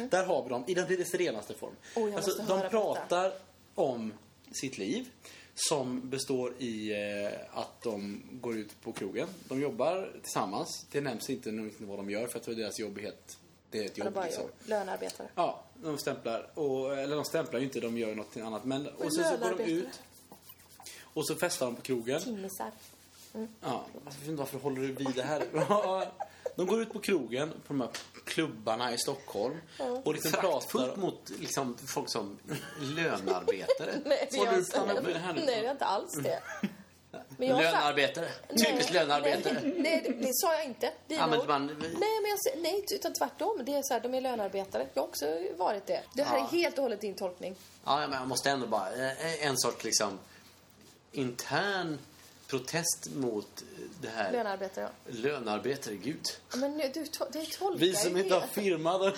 Speaker 1: Där har vi dem i den dess renaste form.
Speaker 2: Mm. Oj, jag
Speaker 1: alltså,
Speaker 2: måste
Speaker 1: de
Speaker 2: höra på detta.
Speaker 1: pratar om sitt liv som består i eh, att de går ut på krogen. De jobbar tillsammans. Det nämns inte nog inte vad de gör för att deras jobb är helt... Det är ett
Speaker 2: Eller
Speaker 1: jobb
Speaker 2: bara
Speaker 1: liksom.
Speaker 2: jag. Lönearbetare.
Speaker 1: Ja, de stämplar. Och, eller de stämplar ju inte, de gör något annat. Men, och sen så går de
Speaker 2: lönearbetare.
Speaker 1: ut. Och så festar de på krogen.
Speaker 2: Timmisar. Mm.
Speaker 1: Ja, jag vet inte varför håller du vid det här? [laughs] De går ut på krogen, på de här klubbarna i Stockholm och liksom pratar
Speaker 4: Föraktfullt
Speaker 1: om...
Speaker 4: mot liksom, folk som lönarbetare.
Speaker 2: [laughs] Nej, det
Speaker 1: Vad
Speaker 2: gör
Speaker 1: du
Speaker 2: jag inte.
Speaker 1: fan med det här nu?
Speaker 2: Nej, det är Mm. inte alls det. Men jag har sagt-
Speaker 4: Lönarbetare. Typiskt lönarbetare.
Speaker 2: Nej, nej, det, det sa jag inte. Dina
Speaker 4: Använder
Speaker 2: ord.
Speaker 4: man-
Speaker 2: Nej, men jag, sä- nej, utan tvärtom. Det är så här, de är lönarbetare. Jag har också varit det. Det här
Speaker 4: Ja.
Speaker 2: är helt och hållet din tolkning.
Speaker 4: Ja, men jag måste ändå bara... eh, En sorts liksom intern protest mot det här.
Speaker 2: Lönarbetare, ja.
Speaker 4: Lönarbetare,
Speaker 2: [laughs]
Speaker 4: gud. [laughs]
Speaker 2: Men nu, du, to- du tolkar
Speaker 1: Vi som
Speaker 2: ju
Speaker 1: inte har
Speaker 2: helt.
Speaker 1: firma.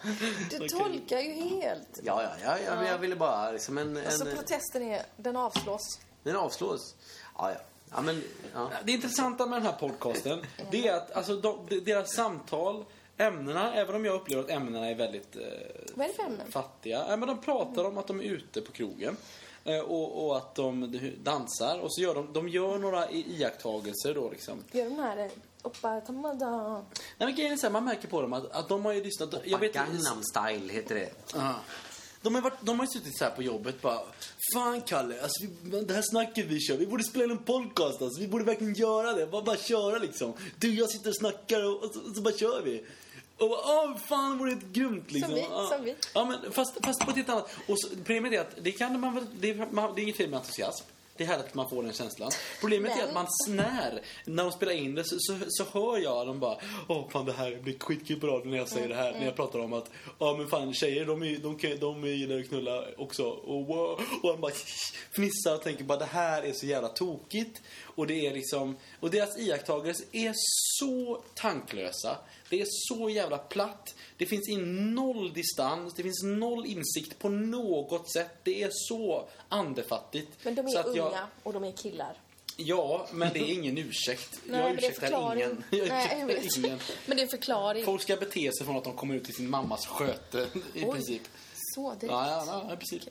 Speaker 4: [laughs]
Speaker 2: Du tolkar ju helt.
Speaker 4: Ja, ja, ja, ja, men jag ville bara liksom en... en
Speaker 2: Så
Speaker 1: Alltså, eh,
Speaker 2: protesten är, den avslås.
Speaker 4: den avslås. Ja, ja. Ja, men... Ja.
Speaker 1: Det intressanta med den här podcasten det är att alltså, de, deras samtal Ämnena, även om jag upplever att ämnena är väldigt eh,
Speaker 6: Vad är det för ämnen?
Speaker 1: fattiga. Nej, men de pratar om att de är ute på krogen. eh, Och, och att de dansar. Och så gör de, de gör några i- iakttagelser då liksom.
Speaker 6: Gör den här... eh, Oppa tamada.
Speaker 1: Nej men grejen är så här, man märker på dem att, att de har ju lyssnat. Jag vet,
Speaker 4: Gangnam style heter det.
Speaker 1: Ja. De har, varit, de har ju suttit så här på jobbet bara Fan Kalle, alltså vi, det här snacket vi kör, vi borde spela in en podcast alltså. Vi borde verkligen göra det, bara, bara köra liksom. Du jag sitter och snackar och, och, så, och så bara kör vi. Och bara, åh fan det vore helt grymt liksom.
Speaker 6: vi,
Speaker 1: ja.
Speaker 6: som vi.
Speaker 1: Ja men fast, fast på ett helt annat. Och så, problemet är att det kan man väl, det är, man, det är inget fel med entusiasm. Det är härligt att man får den känslan. Problemet är
Speaker 6: Men-
Speaker 1: att man snär. När de spelar in det så, så, så hör jag dem bara Åh fan det här blir skitkul på radion när jag säger det här. När jag pratar om att Ja men fan tjejer de, är, de, kan- de gillar att knulla också. Och, wow. och han bara [laughs] fnissar och tänker bara det här är så jävla tokigt. Och det är liksom Och deras iakttagelser är så tanklösa. Det är så jävla platt. Det finns in noll distans. Det finns noll insikt på något sätt. Det är så andefattigt.
Speaker 6: Men de
Speaker 1: så
Speaker 6: är
Speaker 1: att
Speaker 6: unga
Speaker 1: jag-
Speaker 6: och de är killar.
Speaker 1: Ja, men det är ingen
Speaker 6: [laughs]
Speaker 1: ursäkt.
Speaker 6: Nej,
Speaker 1: jag
Speaker 6: men det är
Speaker 1: ursäktar
Speaker 6: förklaring.
Speaker 1: ingen. [laughs] Jag
Speaker 6: Nej, jag
Speaker 1: ursäktar ingen.
Speaker 2: Men det är en förklaring.
Speaker 1: Folk ska bete sig från att de kommer ut i sin mammas sköte i
Speaker 2: Oj.
Speaker 1: princip.
Speaker 2: Så direkt.
Speaker 1: Ja, ja, ja, i princip.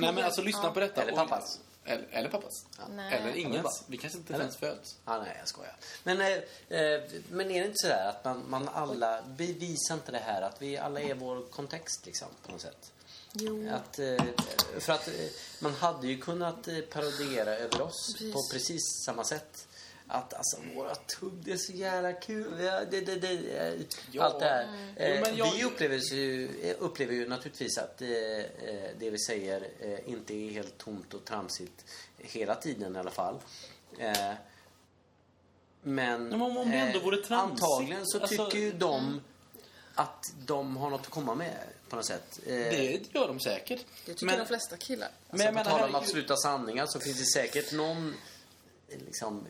Speaker 1: Nej, men alltså lyssna på detta.
Speaker 4: Eller
Speaker 1: Och-
Speaker 4: pappas.
Speaker 1: Eller, eller pappas.
Speaker 2: Nej.
Speaker 1: Eller
Speaker 4: Eller
Speaker 1: ingens.
Speaker 4: bara.
Speaker 1: Vi kanske inte
Speaker 4: Eller?
Speaker 1: ens föds.
Speaker 4: Ah, nej, jag skojar. Men, eh, eh, men är det inte så där att man, man alla... Vi visar inte det här att vi alla är vår kontext liksom, på något sätt.
Speaker 2: Jo.
Speaker 4: Att, eh, för att eh, man hade ju kunnat eh, parodiera över oss
Speaker 2: Precis.
Speaker 4: på precis samma sätt. Att alltså våra tugg, det är så jävla kul. Ja, Det, det, det, eh,
Speaker 1: Ja.
Speaker 4: Allt det här.
Speaker 1: Jo,
Speaker 4: Eh,
Speaker 1: men jag-
Speaker 4: Vi upplever ju, eh, upplever ju naturligtvis att eh, eh, det vi säger eh, inte är helt tomt och tramsigt hela tiden i alla fall. Eh, men eh,
Speaker 1: Men om- om det ändå vore tramsigt,
Speaker 4: antagligen så
Speaker 1: alltså-
Speaker 4: tycker ju de att de har något att komma med på något sätt. Eh,
Speaker 1: Det gör de säkert.
Speaker 2: Det tycker
Speaker 1: Men-
Speaker 2: de flesta killar.
Speaker 1: Men jag
Speaker 4: men Alltså, på
Speaker 1: menar,
Speaker 4: tal om
Speaker 1: herregud.
Speaker 4: absoluta sanningar så finns det säkert någon eh, liksom,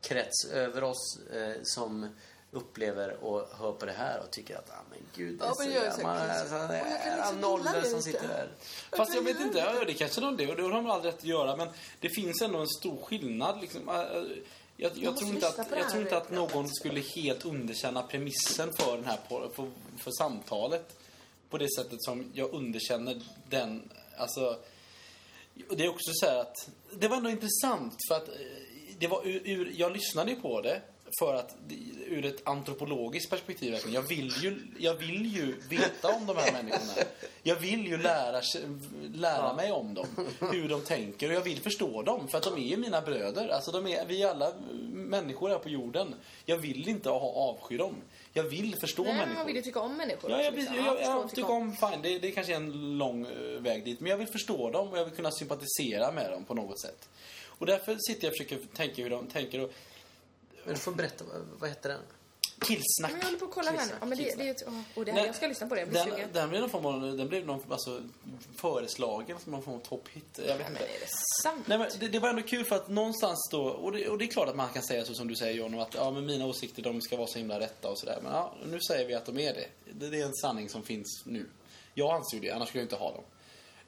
Speaker 4: krets över oss eh, som upplever och hör på det här och tycker att ah, men gud, det är
Speaker 2: Ja,
Speaker 4: så
Speaker 2: men jag är
Speaker 4: jävla-
Speaker 2: säkert
Speaker 4: man är
Speaker 2: liksom-
Speaker 4: så här,
Speaker 2: och jag kan
Speaker 4: alla
Speaker 2: liksom gilla
Speaker 4: nollor
Speaker 2: det
Speaker 4: som
Speaker 2: lite."
Speaker 4: sitter där.
Speaker 1: Fast jag vet inte, ja, det kanske de det, och det har de all rätt att göra. Men det finns ändå en stor skillnad. Liksom. Äh, äh, Jag, jag,
Speaker 2: måste
Speaker 1: tror inte
Speaker 2: lyssna
Speaker 1: att,
Speaker 2: på det
Speaker 1: jag
Speaker 2: här,
Speaker 1: tror inte
Speaker 2: vet
Speaker 1: att någon skulle helt underkänna premissen för, den här, på- för, för samtalet på det sättet som jag underkänner den. Alltså, och det är också så här att det var ändå intressant för att eh, det var ur, ur, jag lyssnade ju på det för att det- ur ett antropologiskt perspektiv verkligen. Jag vill ju, jag vill ju veta om de här människorna. Jag vill ju lära, sig- lära mig om dem. Hur de tänker och jag vill förstå dem för att de är ju mina bröder. Alltså de är, vi är alla människor här på jorden. Jag vill inte ha avsky dem. Jag vill förstå
Speaker 2: Nej, men
Speaker 1: människor.
Speaker 2: man vill ju tycka om människor.
Speaker 1: Ja, jag,
Speaker 2: liksom.
Speaker 1: jag, jag,
Speaker 2: förstå och
Speaker 1: jag tycker om, fine, det, det kanske är en lång eh, väg dit. Men jag vill förstå dem och jag vill kunna sympatisera med dem på något sätt. Och därför sitter jag och försöker tänka hur de tänker. Och,
Speaker 4: Men du får berätta, vad, vad heter den?
Speaker 1: killsnack.
Speaker 2: Men jag håller på att kolla här nu. Ja, men det, det är ju... ett- åh, Och det här,
Speaker 1: Nej,
Speaker 2: Mm. jag ska lyssna på det. Jag blir
Speaker 1: Den,
Speaker 2: sugen.
Speaker 1: den blev någon form av, den blev någon, alltså, föreslagen som någon form av topphit. Jag vet inte.
Speaker 2: Är det sant?
Speaker 1: Nej, men det, det var ändå kul för att någonstans då, och det, och det är klart att man kan säga så som du säger John, att ja, men mina åsikter de ska vara så himla rätta och sådär. Men ja, nu säger vi att de är det. det. Det är en sanning som finns nu. Jag anser ju det, annars skulle jag inte ha dem.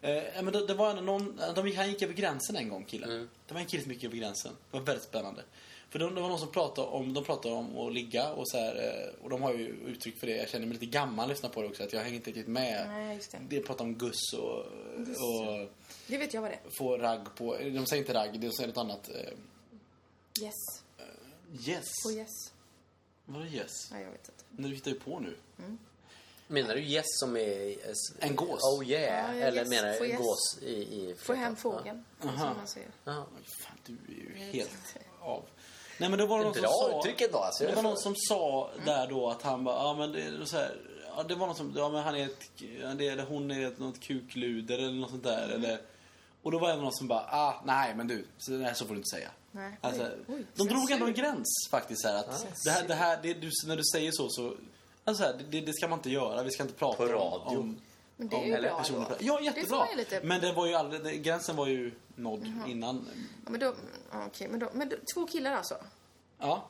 Speaker 1: Eh, men det, det var ändå någon, de, gick- han gick över gränsen en gång killen.
Speaker 2: Mm.
Speaker 1: Det var en kille som gick över gränsen. Det var väldigt spännande. För de, det var någon som pratade om, de pratade om att ligga och så här, eh, och de har ju uttryck för det. Jag känner mig lite gammal lyssna på det också, att jag hänger inte riktigt med.
Speaker 2: Nej, just det.
Speaker 1: De pratar om guss och, och
Speaker 2: Det vet jag vad det
Speaker 1: få ragg på... De säger inte ragg, de säger något annat. eh,
Speaker 2: är. Yes.
Speaker 1: Yes.
Speaker 2: Och yes.
Speaker 1: Vadå yes?
Speaker 2: Nej, jag vet inte.
Speaker 1: Nu hittar du på nu.
Speaker 4: Menar du gäss som är... eh, s-
Speaker 1: En gås.
Speaker 4: Oh yeah.
Speaker 2: Ja, ja,
Speaker 4: Eller
Speaker 2: gäss.
Speaker 4: menar
Speaker 2: Få
Speaker 4: du en
Speaker 2: gäss.
Speaker 4: gås i... i
Speaker 2: Få hem
Speaker 4: flätan?
Speaker 2: fågeln,
Speaker 1: Aha.
Speaker 2: som man säger.
Speaker 4: Ja. Ja.
Speaker 1: Oj, fan, du är ju helt av. Nej, men då var det någon som
Speaker 4: Bra
Speaker 1: sa...
Speaker 4: uttrycket var alltså.
Speaker 1: Det var någon som sa
Speaker 2: Mm.
Speaker 1: där då att han bara, ja men det är så här, ja, det var någon som, ja men han är ett, ja, det, eller hon är ett, något kukluder eller något sånt där
Speaker 2: Mm.
Speaker 1: eller och då var det någon som bara, ah nej men du, så, nej, så får du inte säga.
Speaker 2: Nej.
Speaker 1: Alltså,
Speaker 2: Oj, oj,
Speaker 1: de drog
Speaker 2: censur.
Speaker 1: ändå en gräns faktiskt här att det här, det här det, du, när du säger så så, alltså här, det, det ska man inte göra, vi ska inte prata
Speaker 4: På
Speaker 1: om-
Speaker 4: radio.
Speaker 1: om
Speaker 2: Men det är
Speaker 1: om
Speaker 2: ju bra
Speaker 1: personer-
Speaker 2: då.
Speaker 1: Ja,
Speaker 2: Det får
Speaker 1: jättebra.
Speaker 2: man ju lite... Mm-hmm.
Speaker 1: Men det var ju aldrig, det, gränsen var ju nådd innan.
Speaker 2: Ja, men då... ja, Okej, men då... Men då, två killar alltså?
Speaker 1: Ja,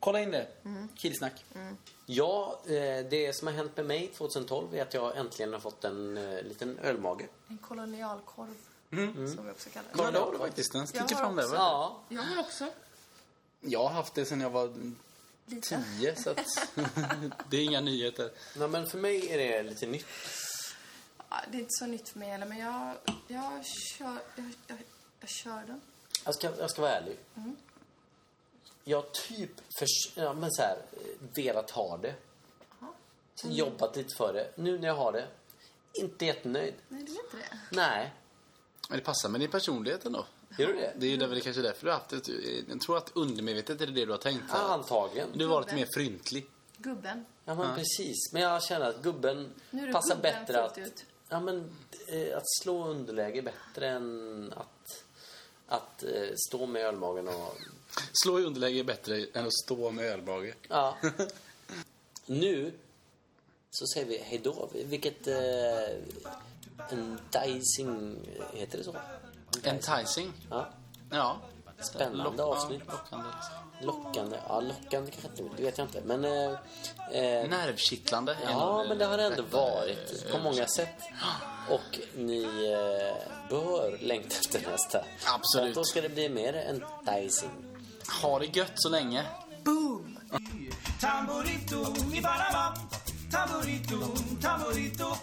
Speaker 1: kolla in det. Killsnack.
Speaker 4: Mm. Ja, eh, det som har hänt med mig 2012 är att jag äntligen har fått en eh, liten ölmage.
Speaker 2: En kolonialkorv,
Speaker 1: Mm.
Speaker 2: som vi också kallar det.
Speaker 1: Kolla, det har du faktiskt. Den
Speaker 2: Jag
Speaker 1: sticker
Speaker 2: har
Speaker 1: fram där.
Speaker 2: också.
Speaker 1: va?
Speaker 4: Ja.
Speaker 2: Jag har också.
Speaker 1: Jag har haft det sen jag var
Speaker 6: liten.
Speaker 1: tio, så
Speaker 6: [laughs]
Speaker 1: att det är inga nyheter.
Speaker 4: Nej, men för mig är det lite nytt.
Speaker 6: Ja, det är inte så nytt för mig heller, men jag, jag, kör, jag, jag, jag kör den.
Speaker 4: Jag ska, jag ska vara ärlig.
Speaker 6: Mm.
Speaker 4: Jag typ förs- ja, men så här, eh, velat ha det. Jobbat lite för det. Nu när jag har det, inte jättenöjd.
Speaker 6: Nej, det är inte det.
Speaker 4: Nej.
Speaker 1: Men det passar med din personlighet ändå.
Speaker 4: Gör du det?
Speaker 1: Det är ju där- det kanske är därför du har haft det. Jag tror att undermedvetet är det det du har tänkt.
Speaker 4: Ja, antagligen.
Speaker 1: Du var lite mer fryntlig.
Speaker 6: Gubben.
Speaker 4: Ja, men precis. Men jag känner att gubben
Speaker 6: Nu är det
Speaker 4: passar
Speaker 6: gubben
Speaker 4: bättre
Speaker 6: fullt
Speaker 4: att...
Speaker 6: ut.
Speaker 4: Ja, men eh, att slå underläge är bättre än att, att eh, stå med ölmagen och...
Speaker 1: Slå i underläge är bättre än att stå med ölmage.
Speaker 4: Ja. nu så säger vi hej då. Vilket... Eh, enticing... Heter det så?
Speaker 1: Enticing.
Speaker 4: Ja.
Speaker 1: Ja.
Speaker 4: Spännande
Speaker 1: Lock- ja,
Speaker 4: avsnitt.
Speaker 1: Lockande.
Speaker 4: Lockande. Ja, lockande kanske inte det vet jag inte. Men... Eh, eh,
Speaker 1: Nervkittlande. är
Speaker 4: Ja,
Speaker 1: nog
Speaker 4: men det har det ändå
Speaker 1: rätta,
Speaker 4: varit
Speaker 1: eh,
Speaker 4: på många sätt. Och ni eh, bör längta efter nästa.
Speaker 1: Absolut.
Speaker 4: För att Då ska det bli mer än dicing.
Speaker 1: Ha det gött så länge.
Speaker 3: Tamburito i Panama Tamburito, tamburito